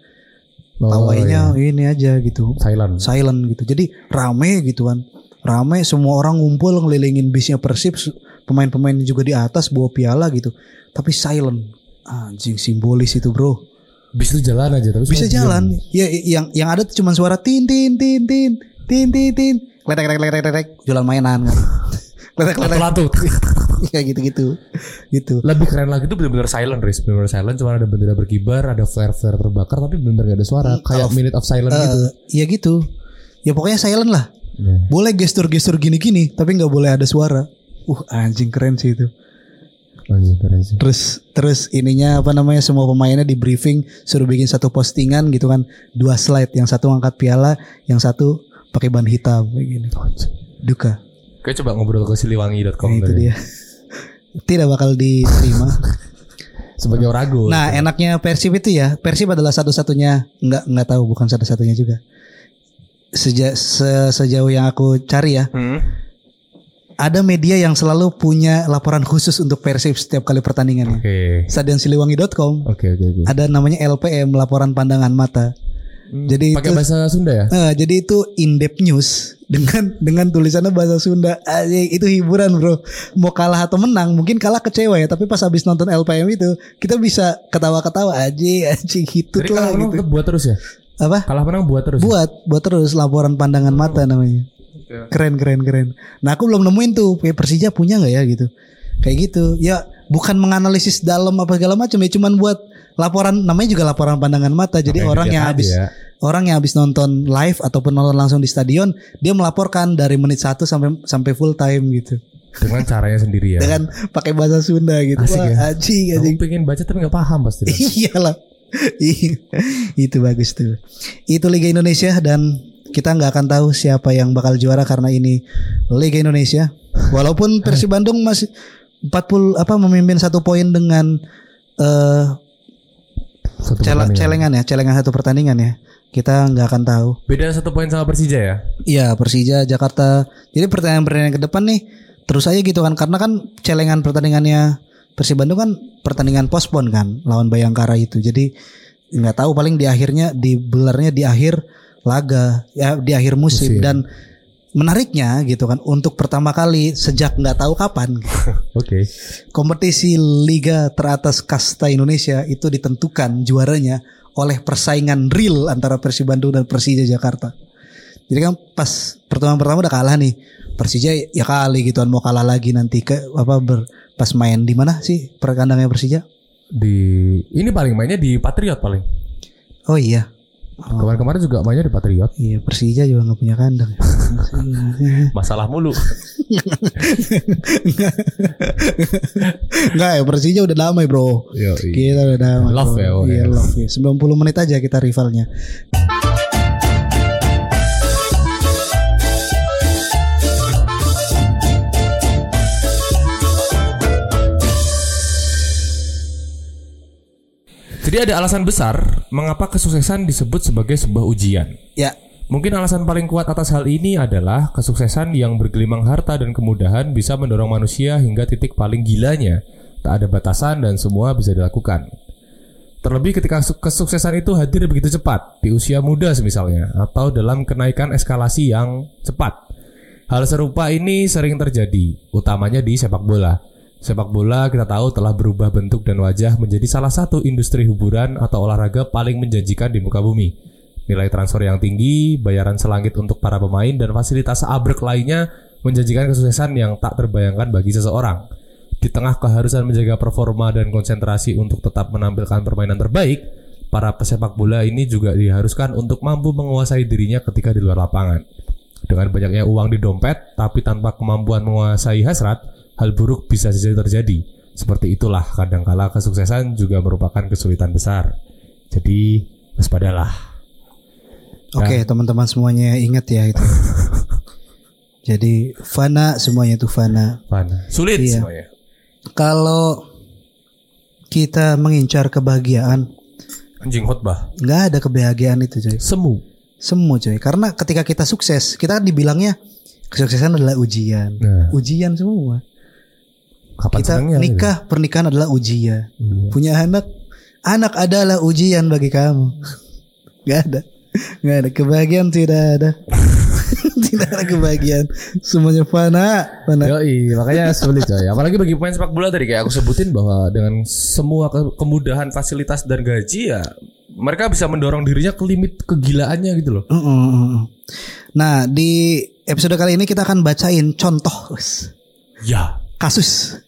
D: Oh,
B: tawainya
D: iya.
B: ini aja gitu,
D: silent.
B: silent gitu. Jadi rame gitu kan. Rame semua orang ngumpul ngelilingin bisnya Persib, su- pemain-pemain juga di atas bawa piala gitu. Tapi silent. Anjing simbolis itu, Bro.
D: Bis itu jalan aja tapi
B: Bisa
D: semua
B: jalan. Ya yang yang ada tuh cuma suara tin tin tin tin tin tin tin. Kletek kletek kletek kletek jualan mainan. kan. [laughs] kletek kletek [laughs]
D: Latu-latu.
B: kayak gitu-gitu. Gitu.
D: [laughs] Lebih keren lagi itu benar-benar silent, Riz. Benar-benar silent, cuma ada bendera berkibar, ada flare-flare terbakar, tapi benar-benar gak ada suara. Kayak minute of silent gitu.
B: Iya. Eh, ya gitu. Ya pokoknya silent lah.
D: Iya.
B: Boleh gestur-gestur gini-gini, tapi nggak boleh ada suara. Uh, anjing keren sih itu.
D: Anjing, keren sih.
B: terus terus ininya apa namanya semua pemainnya di briefing suruh bikin satu postingan gitu kan dua slide yang satu angkat piala yang satu pakai ban hitam kayak gini duka
D: Kayak coba ngobrol ke siliwangi.com
B: Nah, itu
D: tadi.
B: dia [laughs] tidak bakal diterima
D: Sebagai orago.
B: nah enaknya persib itu ya persib adalah satu-satunya nggak nggak tahu bukan satu-satunya juga Seja, se- sejauh yang aku cari ya
D: Hmm.
B: ada media yang selalu punya laporan khusus untuk persib setiap kali pertandingannya
D: Oke.
B: stadionsiliwangi.com
D: Oke, oke, oke.
B: ada namanya LPM laporan pandangan mata. Jadi
D: Pakai
B: itu
D: bahasa Sunda ya?
B: eh, jadi itu in depth news [laughs] dengan dengan tulisannya bahasa Sunda. Anjing, itu hiburan, Bro. Mau kalah atau menang, mungkin kalah kecewa ya, tapi pas habis nonton LPM itu kita bisa ketawa-ketawa aja anjing hitut
D: Jadi kalah
B: lah
D: menang
B: [laughs] gitu.
D: tetap buat terus ya?
B: Apa?
D: Kalah menang buat terus. ya?
B: Buat buat terus laporan pandangan mata namanya. Keren keren keren. Nah, aku belum nemuin tuh kayak Persija punya nggak ya gitu. Kayak gitu. Ya bukan menganalisis dalam apa segala macam ya, cuman buat laporan namanya juga laporan pandangan mata. Jadi
D: Kayak
B: orang
D: dilihat
B: yang
D: aja
B: habis
D: ya.
B: orang yang habis nonton live ataupun nonton langsung di stadion, dia melaporkan dari menit 1 sampai sampai full time gitu.
D: dengan caranya sendiri ya.
B: Dengan pakai bahasa Sunda gitu.
D: Asik
B: Wah,
D: ya.
B: anjing, anjing.
D: Aku pengen baca tapi nggak paham pasti.
B: [laughs] Iyalah. Iya. itu bagus tuh. Itu Liga Indonesia dan kita nggak akan tahu siapa yang bakal juara karena ini Liga Indonesia.
D: [laughs]
B: Walaupun Persib Bandung masih 40 apa memimpin satu poin dengan eh
D: Satu
B: cele-
D: pertandingan.
B: celengan ya, celengan satu pertandingan ya. Kita nggak akan tahu.
D: Beda satu poin sama Persija ya.
B: Iya Persija Jakarta. Jadi pertandingan-pertandingan ke depan nih terus aja gitu kan karena kan celengan pertandingannya Persib Bandung kan pertandingan pospon kan lawan Bayangkara itu. Jadi nggak tahu paling di akhirnya di gelarnya di akhir laga ya di akhir musim,
D: Musim.
B: dan menariknya gitu kan untuk pertama kali sejak nggak tahu kapan
D: Oke.
B: kompetisi liga teratas kasta Indonesia itu ditentukan juaranya oleh persaingan real antara Persib Bandung dan Persija Jakarta. Jadi kan pas pertemuan pertama udah kalah nih. Persija ya kali gitu kan mau kalah lagi nanti ke apa ber- pas main di mana sih perkandangnya Persija?
D: Di ini paling mainnya di Patriot paling.
B: Oh iya. Oh,
D: Kemarin-kemarin juga mainnya di
B: [laughs]
D: Patriot.
B: iya Persija juga nggak punya
D: [laughs]
B: kandang. ya.
D: Masalah mulu.
B: Enggak ya Persija udah damai bro.
D: Yo,
B: Kita udah damai.
D: Love
B: bro.
D: ya, oh,
B: Iya
D: ya.
B: love ya. 90 menit aja kita rivalnya.
D: Jadi ada alasan besar mengapa kesuksesan disebut sebagai sebuah ujian.
B: Ya
D: Mungkin alasan paling kuat atas hal ini adalah kesuksesan yang bergelimang harta dan kemudahan bisa mendorong manusia hingga titik paling gilanya. Tak ada batasan dan semua bisa dilakukan. Terlebih ketika su- kesuksesan itu hadir begitu cepat, di usia muda misalnya, atau dalam kenaikan eskalasi yang cepat. Hal serupa ini sering terjadi, utamanya di sepak bola. Sepak bola kita tahu telah berubah bentuk dan wajah menjadi salah satu industri hiburan atau olahraga paling menjanjikan di muka bumi. Nilai transfer yang tinggi, bayaran selangit untuk para pemain, dan fasilitas abrek lainnya menjanjikan kesuksesan yang tak terbayangkan bagi seseorang. Di tengah keharusan menjaga performa dan konsentrasi untuk tetap menampilkan permainan terbaik, para pesepak bola ini juga diharuskan untuk mampu menguasai dirinya ketika di luar lapangan. Dengan banyaknya uang di dompet, tapi tanpa kemampuan menguasai hasrat, hal buruk bisa saja terjadi. Seperti itulah, kadangkala kesuksesan juga merupakan kesulitan besar. Jadi, waspadalah.
B: Oke teman-teman semuanya ingat ya itu. Jadi fana semuanya itu fana.
D: Fana. Sulit
B: Iya.
D: semuanya.
B: Kalau kita mengincar kebahagiaan,
D: Anjing khotbah.
B: nggak ada kebahagiaan itu coy.
D: Semu.
B: Semu coy. Karena ketika kita sukses, kita kan dibilangnya kesuksesan adalah ujian.
D: Nah,
B: Ujian semua.
D: kapan
B: kita
D: senangnya? gitu?
B: nikah, pernikahan adalah ujian.
D: Iya.
B: Punya anak, anak adalah ujian bagi kamu. [laughs] Gak ada, gak ada kebahagiaan tidak ada, [laughs] tidak ada kebahagiaan. Semuanya fana,
D: Nah.
B: fana.
D: Yoi, makanya sulit coy. Apalagi bagi pemain sepak bola tadi kayak aku sebutin bahwa dengan semua ke- kemudahan, fasilitas dan gaji ya mereka bisa mendorong dirinya ke limit kegilaannya gitu loh.
B: Mm, mm, mm. Nah di episode kali ini kita akan bacain contoh us,
D: Ya.
B: kasus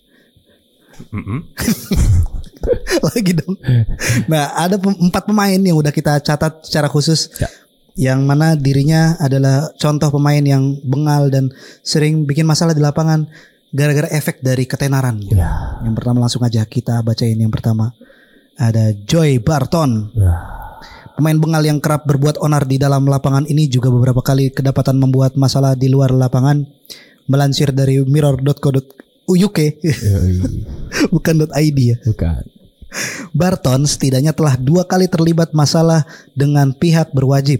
B: [laughs] lagi dong. Nah ada pem- empat pemain yang udah kita catat secara khusus.
D: Ya.
B: Yang mana dirinya adalah contoh pemain yang bengal dan sering bikin masalah di lapangan gara-gara efek dari ketenaran.
D: Ya.
B: Yang pertama langsung aja kita bacain yang pertama. Ada Joy Barton.
D: Ya.
B: Pemain bengal yang kerap berbuat onar di dalam lapangan ini juga beberapa kali kedapatan membuat masalah di luar lapangan. Melansir dari mirror.co.uk [laughs] bukan .id ya.
D: Bukan.
B: Barton setidaknya telah dua kali terlibat masalah dengan pihak berwajib.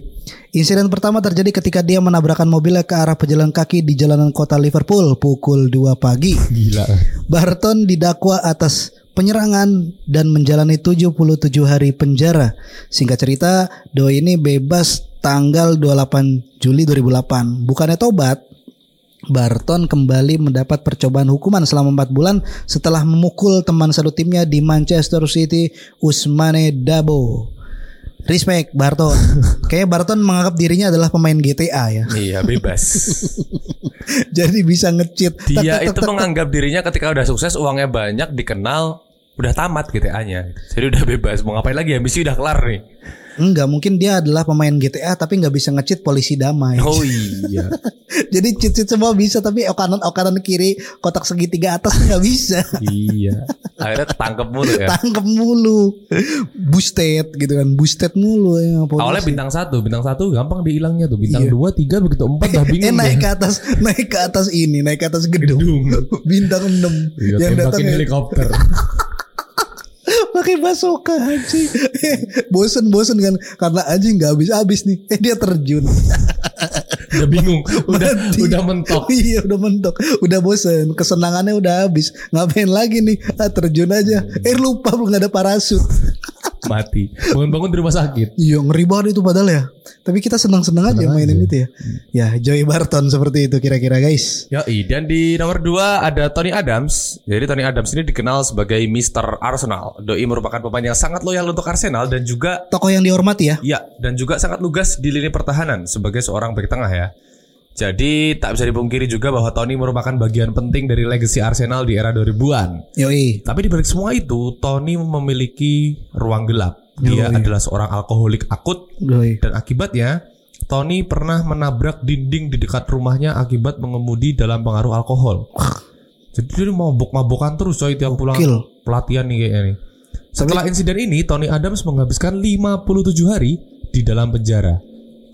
B: Insiden pertama terjadi ketika dia menabrakan mobilnya ke arah pejalan kaki di jalanan kota Liverpool pukul 2 pagi.
D: Gila.
B: Barton didakwa atas penyerangan dan menjalani 77 hari penjara. Singkat cerita, Doi ini bebas tanggal 28 Juli 2008. Bukannya tobat, Barton kembali mendapat percobaan hukuman selama 4 bulan setelah memukul teman satu timnya di Manchester City, Usmane Dabo. Respect
D: [laughs]
B: Barton. Kayaknya Barton menganggap dirinya adalah pemain GTA ya. [laughs]
D: Iya, bebas. [laughs]
B: Jadi bisa ngecheat. Tak,
D: Dia
B: tak,
D: itu
B: tak, tak,
D: menganggap dirinya ketika udah sukses, uangnya banyak, dikenal, udah tamat GTA-nya. Jadi udah bebas. Mau ngapain lagi? Ambisi udah kelar nih.
B: Enggak, mungkin dia adalah pemain GTA tapi nggak bisa nge-cheat polisi damai.
D: Oh iya.
B: [laughs] Jadi cheat-cheat semua bisa tapi oh kanan oh kanan kiri kotak segitiga atas nggak
D: [laughs]
B: bisa.
D: iya. Akhirnya ketangkep mulu kan.
B: Tangkep mulu. Boosted gitu kan, boosted mulu ya polisi.
D: Awalnya
B: [laughs]
D: bintang satu, bintang satu gampang dihilangnya tuh. Bintang
B: Iya.
D: dua, tiga begitu empat
B: [laughs]
D: udah
B: Eh
D: bingung. deh.
B: naik ke atas, naik ke atas ini, naik ke atas gedung. [laughs] Bintang 6
D: Iya, tembakin
B: yang datang ya,
D: helikopter.
B: [laughs] pakai basoka anjing. [laughs] Bosen-bosen kan karena anjing nggak habis-habis nih. Eh dia terjun.
D: udah
B: [laughs]
D: bingung, udah
B: Mati.
D: udah mentok.
B: [laughs] iya udah mentok udah bosen kesenangannya udah habis ngapain lagi nih ah, terjun aja eh lupa belum ada parasut
D: Mati. Bangun-bangun di rumah sakit.
B: iya ngeri banget itu padahal ya tapi kita senang-senang aja
D: Senang
B: mainin
D: aja.
B: itu ya ya Joey Barton seperti itu kira-kira guys
D: Yoi, Ya, dan di nomor 2 ada Tony Adams. Jadi Tony Adams ini dikenal sebagai Mr. Arsenal. Doi merupakan pemain yang sangat loyal untuk Arsenal dan juga
B: tokoh yang dihormati ya
D: Ya, dan juga sangat lugas di lini pertahanan sebagai seorang bek tengah ya. Jadi tak bisa dipungkiri juga bahwa Tony merupakan bagian penting dari legacy Arsenal di era 2000-an.
B: Yoi
D: Tapi dibalik semua itu, Tony memiliki ruang gelap.
B: Oh,
D: Dia
B: iya.
D: adalah seorang alkoholik akut
B: Yoi
D: dan akibatnya Tony pernah menabrak dinding di dekat rumahnya akibat mengemudi dalam pengaruh alkohol. Jadi dia mabok-mabokan terus coy tiap pulang
B: Gokil.
D: pelatihan nih kayaknya nih. Setelah insiden ini, Tony Adams menghabiskan 57 hari di dalam penjara.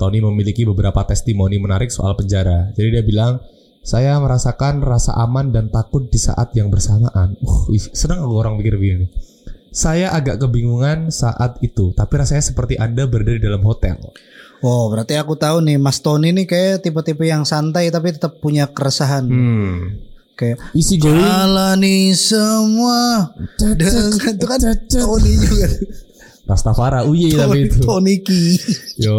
D: Tony memiliki beberapa testimoni menarik soal penjara. Jadi dia bilang, saya merasakan rasa aman dan takut di saat yang bersamaan. Uh, ih, senang aku orang pikir begini. Saya agak kebingungan saat itu, tapi rasanya seperti Anda berada di dalam hotel.
B: Oh berarti aku tahu nih Mas Tony nih kayak tipe-tipe yang santai tapi tetap punya keresahan
D: Hmm.
B: kayak
D: Isi
B: jalani semua [laughs] dengan Ya. itu kan Tony juga
D: Rastafara, uye
B: Tony,
D: Iya, tapi itu.
B: Tony Ki
D: Yo,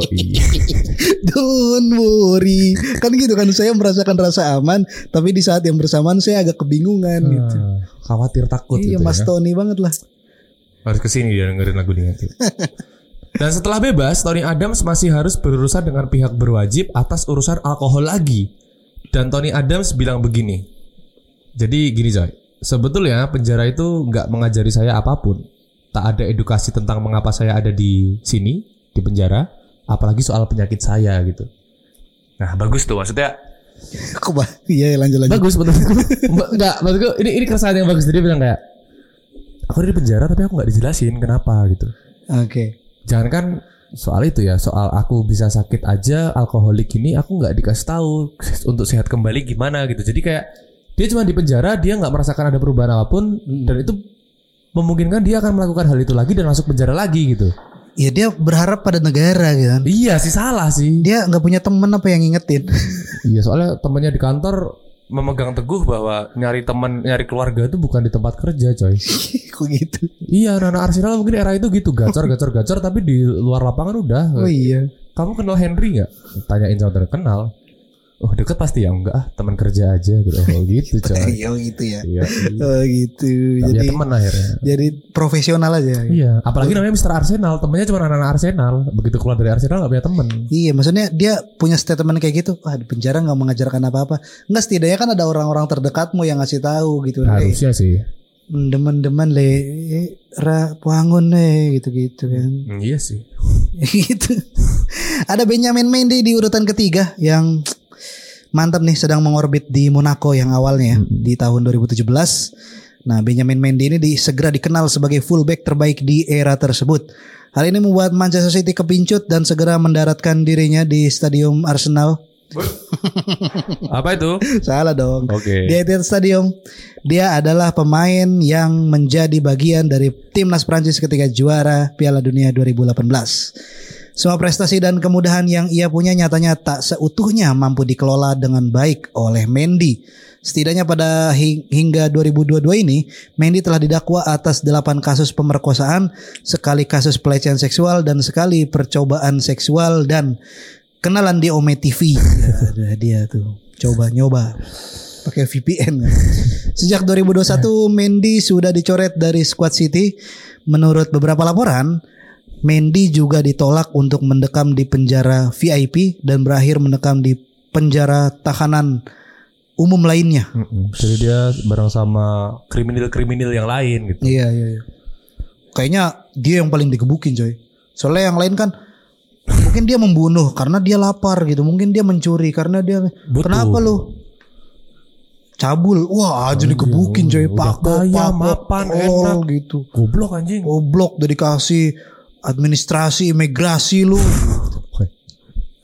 B: Don't worry Kan gitu kan Saya merasakan rasa aman Tapi di saat yang bersamaan Saya agak kebingungan gitu
D: Khawatir takut
B: Iya
D: gitu
B: mas
D: ya.
B: Tony banget lah
D: Harus kesini dia dengerin lagu ini [laughs] nanti. Dan setelah bebas, Tony Adams masih harus berurusan dengan pihak berwajib atas urusan alkohol lagi. Dan Tony Adams bilang begini. Jadi gini coy, sebetulnya penjara itu nggak mengajari saya apapun. Tak ada edukasi tentang mengapa saya ada di sini, di penjara, apalagi soal penyakit saya gitu. Nah bagus tuh maksudnya
B: Kok bah- Iya lanjut lanjut.
D: bagus [laughs] menurutku nggak maksudku ini ini keresahan yang bagus dia bilang kayak aku di penjara tapi aku nggak dijelasin kenapa gitu
B: Oke.
D: jangan kan soal itu ya soal aku bisa sakit aja alkoholik ini aku nggak dikasih tahu untuk sehat kembali gimana gitu jadi kayak dia cuma di penjara dia nggak merasakan ada perubahan apapun dan itu memungkinkan dia akan melakukan hal itu lagi dan masuk penjara lagi gitu
B: Ya dia berharap pada negara gitu. kan.
D: iya sih salah sih
B: Dia nggak punya temen apa yang ngingetin. [laughs]
D: iya soalnya temennya di kantor memegang teguh bahwa nyari teman nyari keluarga itu bukan di tempat kerja coy
B: Kok gitu?
D: Iya, anak Arsenal mungkin era itu gitu, gacor, gacor, gacor, tapi di luar lapangan udah.
B: Oh iya.
D: Kamu kenal Henry nggak? Tanyain sama temen, kenal. Oh deket pasti ya, enggak ah, teman kerja aja gitu, [laughs] oh, gitu coy.
B: Iya gitu ya.
D: Iya, iya.
B: Oh gitu.
D: Tapi ya
B: Jadi
D: teman akhirnya.
B: jadi profesional aja.
D: Iya, apalagi namanya Mister Arsenal, temennya cuma anak-anak Arsenal. Begitu keluar dari Arsenal nggak punya temen.
B: Iya, maksudnya dia punya statement kayak gitu. Wah, di penjara nggak mengajarkan apa-apa. Enggak setidaknya kan ada orang-orang terdekatmu yang ngasih tahu gitu. Eh,
D: Harusnya sih.
B: Demen-demen le, eh, ra wangun le gitu-gitu kan. [laughs]
D: iya sih.
B: gitu. Ada Benjamin Mendy di urutan ketiga yang mantap nih sedang mengorbit di Monaco yang awalnya di tahun 2017. Nah, Benjamin Mendy ini di, segera dikenal sebagai fullback terbaik di era tersebut. Hal ini membuat Manchester City kepincut dan segera mendaratkan dirinya di Stadium Arsenal. [laughs]
D: Apa itu?
B: Salah dong.
D: Oke.
B: Di Etihad Stadium, dia adalah pemain yang menjadi bagian dari timnas Prancis ketika juara Piala Dunia 2018. Semua prestasi dan kemudahan yang ia punya nyatanya tak seutuhnya mampu dikelola dengan baik oleh Mendy. Setidaknya pada hi- hingga 2022 ini, Mendy telah didakwa atas 8 kasus pemerkosaan, sekali kasus pelecehan seksual dan sekali percobaan seksual dan kenalan di Ome [laughs] TV. Ya, dia tuh coba nyoba pakai VPN. [laughs] Sejak 2021 Mendy sudah dicoret dari squad City. Menurut beberapa laporan, Mendy juga ditolak untuk mendekam di penjara VIP dan berakhir mendekam di penjara tahanan umum lainnya.
D: Mm-mm. Jadi dia bareng sama kriminal-kriminal yang lain gitu.
B: Iya, iya, iya. Kayaknya dia yang paling digebukin, coy. Soalnya yang lain kan mungkin dia membunuh karena dia lapar gitu, mungkin dia mencuri karena dia
D: Betul.
B: Kenapa lu? Cabul. Wah, jadi digebukin coy.
D: udah
B: Pak,
D: kaya,
B: pak,
D: mapan, enak.
B: gitu.
D: Goblok anjing.
B: Goblok udah dikasih administrasi imigrasi lu.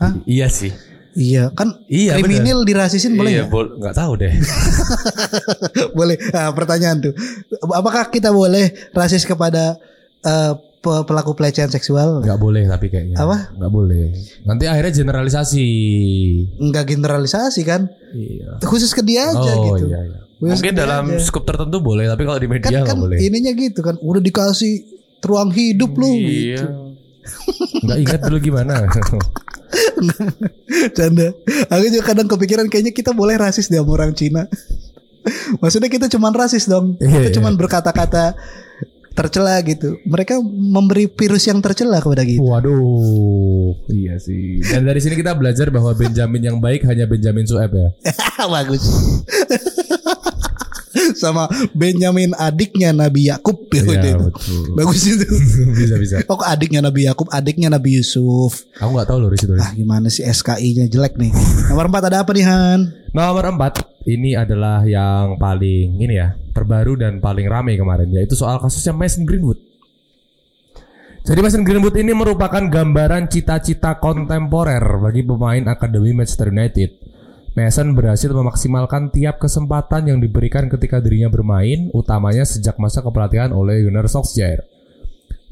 B: Hah?
D: Iya sih.
B: iya, kan
D: Iya,
B: kriminal dirasisin boleh
D: iya,
B: nggak? [laughs]
D: bol- nggak tahu [laughs] deh.
B: boleh. Nah, pertanyaan tuh. Apakah kita boleh rasis kepada eh, pe- pelaku pelecehan seksual?
D: Nggak boleh tapi kayaknya.
B: Apa?
D: Nggak boleh. Nanti akhirnya generalisasi.
B: Enggak generalisasi kan?
D: Iya.
B: Khusus ke dia aja
D: oh
B: gitu.
D: iya. iya.
B: Khusus
D: Mungkin
B: ke dia
D: dalam
B: aja.
D: skop tertentu boleh, tapi kalau di
B: kan,
D: media nggak
B: kan
D: boleh.
B: ininya gitu kan udah dikasih ruang hidup lu
D: Iya.
B: gitu. [laughs]
D: [laughs] Nggak ingat dulu gimana.
B: Canda. Aku juga kadang kepikiran kayaknya kita boleh rasis deh sama orang Cina. [laughs] Maksudnya kita cuman rasis dong.
D: Iya,
B: Kita
D: iya.
B: cuman berkata-kata tercela gitu. Mereka memberi virus yang tercela kepada kita.
D: Waduh. Iya sih. Dan dari sini kita belajar bahwa Benjamin yang baik hanya Benjamin Sueb
B: [laughs]
D: ya.
B: Bagus. Sama Benjamin adiknya Nabi Yakub ya udah [laughs]
D: Iya,
B: itu.
D: betul. [laughs]
B: Bagus itu.
D: bisa bisa.
B: Oh, kok adiknya Nabi Yakub, adiknya Nabi Yusuf.
D: Aku nggak tahu loh Riz itu. Riz.
B: Ah, gimana sih SKI-nya jelek nih. Nomor 4 ada apa nih, Han?
D: Nomor empat ini adalah yang paling ini ya terbaru dan paling rame kemarin yaitu soal kasusnya Mason Greenwood. Jadi Mason Greenwood ini merupakan gambaran cita-cita kontemporer bagi pemain akademi Manchester United. Mason berhasil memaksimalkan tiap kesempatan yang diberikan ketika dirinya bermain, utamanya sejak masa kepelatihan oleh Gunnar Solskjaer.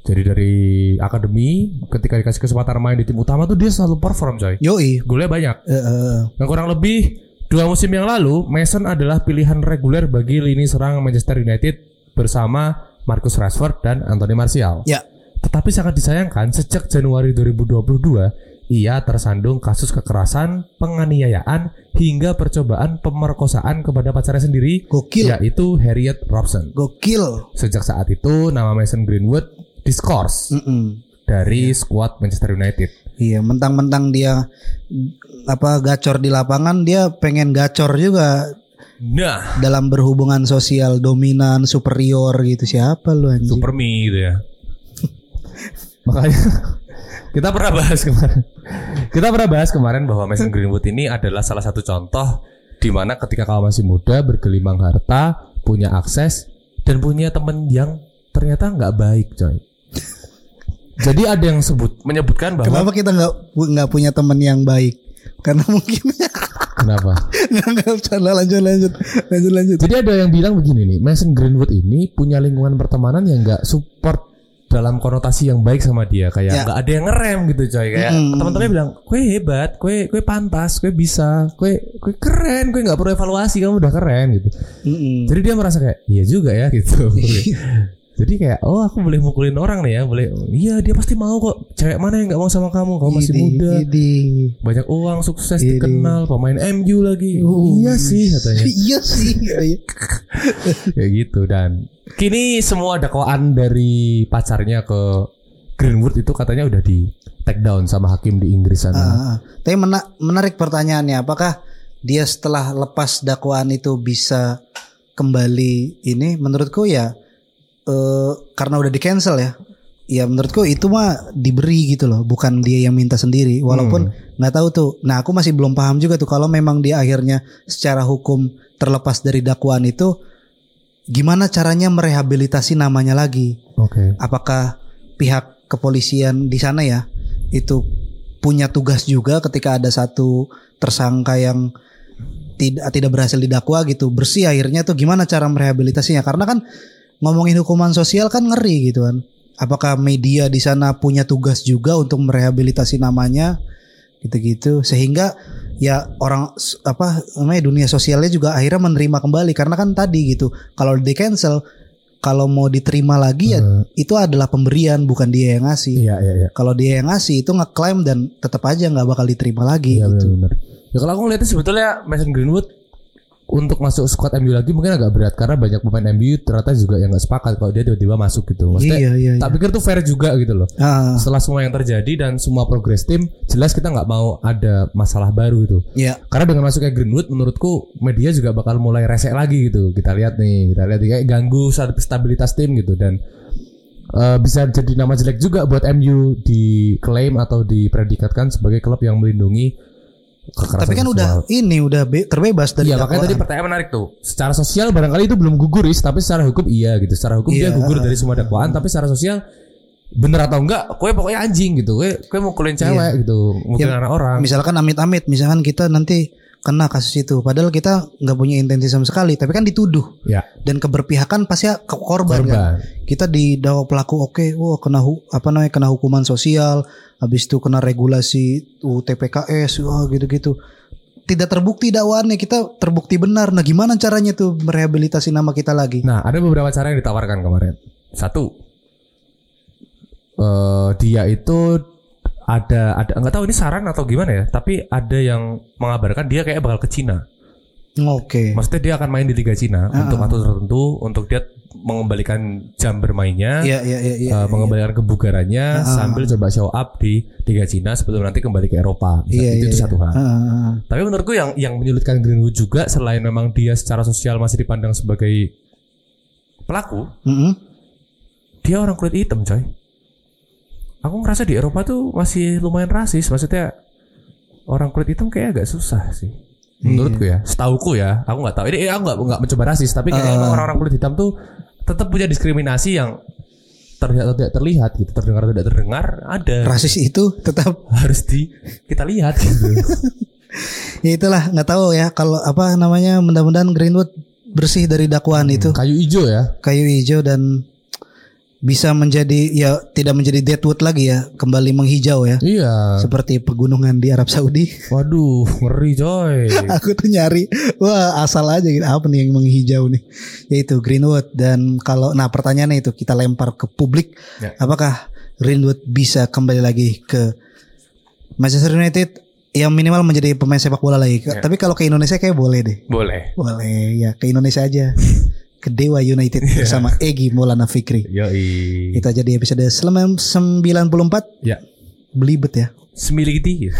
D: Jadi dari akademi, ketika dikasih kesempatan main di tim utama tuh dia selalu perform coy.
B: Yoi.
D: Golnya banyak.
B: Eh, eh,
D: Nah, kurang lebih dua musim yang lalu, Mason adalah pilihan reguler bagi lini serang Manchester United bersama Marcus Rashford dan Anthony Martial.
B: ya,
D: Tetapi sangat disayangkan, sejak Januari 2022, ia tersandung kasus kekerasan, penganiayaan, hingga percobaan pemerkosaan kepada pacarnya sendiri,
B: gokil.
D: yaitu Harriet Robson.
B: Gokil.
D: Sejak saat itu, nama Mason Greenwood diskors
B: Mm-mm.
D: dari skuad Manchester United.
B: Iya, mentang-mentang dia mm, apa gacor di lapangan, dia pengen gacor juga
D: Nah,
B: dalam berhubungan sosial dominan, superior gitu. Siapa lu anjing?
D: Supermi gitu ya. [laughs] Makanya [laughs] Kita pernah bahas kemarin. Kita pernah bahas kemarin bahwa Mason Greenwood ini adalah salah satu contoh di mana ketika kamu masih muda bergelimang harta, punya akses dan punya temen yang ternyata nggak baik, coy. Jadi ada yang sebut menyebutkan bahwa
B: Kenapa kita nggak pu- nggak punya teman yang baik? Karena mungkin [laughs]
D: kenapa?
B: nggak nggak bercanda, lanjut lanjut lanjut lanjut.
D: Jadi ada yang bilang begini nih, Mason Greenwood ini punya lingkungan pertemanan yang nggak support dalam konotasi yang baik sama dia
B: Ya.
D: kayak nggak ada yang ngerem gitu coy kayak
B: Mm.
D: teman-temannya bilang kue hebat kue kue pantas kue bisa kue kue keren kue nggak perlu evaluasi kamu udah keren gitu
B: Mm-mm.
D: jadi dia merasa kayak iya juga ya gitu jadi kayak oh aku boleh mukulin orang nih ya boleh iya dia pasti mau kok cewek mana yang nggak mau sama kamu kamu masih
B: Idi,
D: muda
B: idi.
D: banyak uang sukses
B: Ini.
D: dikenal pemain MU lagi
B: Oh,
D: iya sih katanya
B: [laughs] Iya sih. Iya.
D: ya gitu dan kini semua dakwaan dari pacarnya ke Greenwood itu katanya udah di take down sama hakim di Inggris sana.
B: Ah, ah. tapi mena- menarik pertanyaannya, apakah dia setelah lepas dakwaan itu bisa kembali ini? Menurutku ya eh, karena udah di cancel ya. Ya menurutku itu mah diberi gitu loh, bukan dia yang minta sendiri. Walaupun nggak tahu tuh. Nah aku masih belum paham juga tuh kalau memang dia akhirnya secara hukum terlepas dari dakwaan itu, gimana caranya merehabilitasi namanya lagi?
D: Oke.
B: apakah pihak kepolisian di sana ya itu punya tugas juga ketika ada satu tersangka yang tidak tidak berhasil didakwa gitu bersih akhirnya tuh gimana cara merehabilitasinya karena kan ngomongin hukuman sosial kan ngeri gitu kan apakah media di sana punya tugas juga untuk merehabilitasi namanya gitu-gitu sehingga ya orang s- apa namanya dunia sosialnya juga akhirnya menerima kembali karena kan tadi gitu kalau di cancel kalau mau diterima lagi ya
D: Eh,
B: itu adalah pemberian bukan dia yang ngasih.
D: iya iya iya.
B: Kalau dia yang ngasih itu ngeklaim dan tetap aja nggak bakal diterima lagi
D: Iya
B: gitu.
D: benar. Ya kalau aku ngeliatnya sebetulnya Mason Greenwood untuk masuk squad MU lagi mungkin agak berat karena banyak pemain MU ternyata juga yang nggak sepakat kalau dia tiba-tiba masuk gitu. Maksudnya
B: Iya iya. iya.
D: tak pikir tuh fair juga gitu loh.
B: Ah,
D: Setelah semua yang terjadi dan semua progres tim, jelas kita nggak mau ada masalah baru gitu.
B: ya.
D: Karena dengan masuknya Greenwood menurutku media juga bakal mulai resek lagi gitu. Kita lihat nih, kita lihat kayak ganggu stabilitas tim gitu dan eh, bisa jadi nama jelek juga buat MU diklaim atau dipredikatkan sebagai klub yang melindungi kekerasan
B: Tapi kan
D: seksual.
B: udah ini udah be- terbebas dari
D: Iya makanya tadi
B: dakwaan.
D: pertanyaan menarik tuh. Secara sosial barangkali itu belum gugur is, tapi secara hukum iya gitu. Secara hukum dia
B: Iya.
D: gugur dari semua dakwaan, tapi secara sosial bener atau enggak, kue pokoknya anjing gitu. Kue kue mukulin cewek
B: Iya.
D: gitu, mukulin
B: Iya.
D: anak orang.
B: misalkan amit-amit misalkan kita nanti kena kasus itu padahal kita nggak punya intensi sama sekali tapi kan dituduh
D: Ya,
B: dan keberpihakan pasti ke korban, kan?
D: korban.
B: kita didakwa pelaku oke wah kena hu- apa namanya kena hukuman sosial habis itu kena regulasi UTPKS wah oh, gitu-gitu tidak terbukti dakwaannya kita terbukti benar nah gimana caranya tuh merehabilitasi nama kita lagi
D: Nah, ada beberapa cara yang ditawarkan kemarin. Satu, eh, dia itu ada ada nggak tahu ini saran atau gimana ya, tapi ada yang mengabarkan dia kayak bakal ke Cina.
B: oke
D: Maksudnya dia akan main di Liga Cina
B: Ah,
D: untuk waktu tertentu untuk dia mengembalikan jam bermainnya.
B: Iya iya iya Ah, iya.
D: eh, mengembalikan kebugarannya sambil coba show up di Liga Cina sebelum nanti kembali ke Eropa. Misal-
B: Iya,
D: itu,
B: iya,
D: itu satu hal.
B: Ah, ah, ah.
D: Tapi menurutku yang yang menyulitkan Greenwood juga selain memang dia secara sosial masih dipandang sebagai pelaku,
B: Mm-mm.
D: Eh. dia orang kulit hitam coy aku ngerasa di Eropa tuh masih lumayan rasis maksudnya orang kulit hitam kayak agak susah sih menurutku ya setauku ya aku nggak tahu ini ini aku nggak nggak mencoba rasis tapi kayak emang orang-orang kulit hitam tuh tetap punya diskriminasi yang terlihat atau tidak terlihat gitu terdengar atau tidak terdengar ada
B: rasis itu tetap
D: harus di kita lihat gitu
B: ya itulah nggak tahu ya kalau apa namanya mudah-mudahan Greenwood bersih dari dakwaan Nah, itu
D: kayu hijau ya
B: kayu hijau dan bisa menjadi ya tidak menjadi deadwood lagi ya kembali menghijau ya
D: iya
B: seperti pegunungan di Arab Saudi. [laughs]
D: waduh ngeri coy
B: Aku tuh nyari, wah asal aja gitu apa nih yang menghijau nih, yaitu Greenwood dan kalau nah pertanyaannya itu kita lempar ke publik,
D: Ya.
B: apakah Greenwood bisa kembali lagi ke Manchester United yang minimal menjadi pemain sepak bola lagi. Tapi kalau ke Indonesia kayak boleh deh,
D: boleh
B: boleh ya ke Indonesia aja, ke Dewa United bersama Egi Maulana Fikri.
D: yoi
B: Itu aja di episode selama 94
D: ya
B: belibet ya.
D: semiliki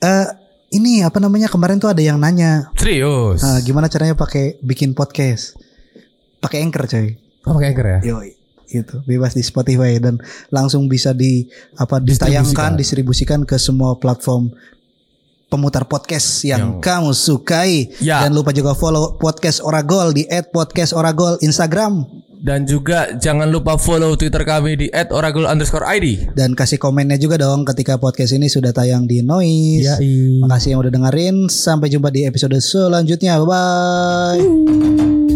B: Eh ini apa namanya kemarin tuh ada yang nanya
D: serius
B: Nah, Ah, gimana caranya pakai bikin podcast? Pakai Anchor, coy.
D: Oh, pakai anchor ya?
B: Yoi. gitu bebas di Spotify dan langsung bisa di apa ditayangkan distribusikan ke semua platform pemutar podcast yang, kamu sukai
D: Ya.
B: jangan lupa juga follow podcast Oragol di @podcastoragol Instagram
D: Dan juga jangan lupa follow Twitter kami di @oracle_id.
B: dan kasih komennya juga dong ketika podcast ini sudah tayang di Noise iya. Makasih yang udah dengerin. Sampai jumpa di episode selanjutnya. Bye bye.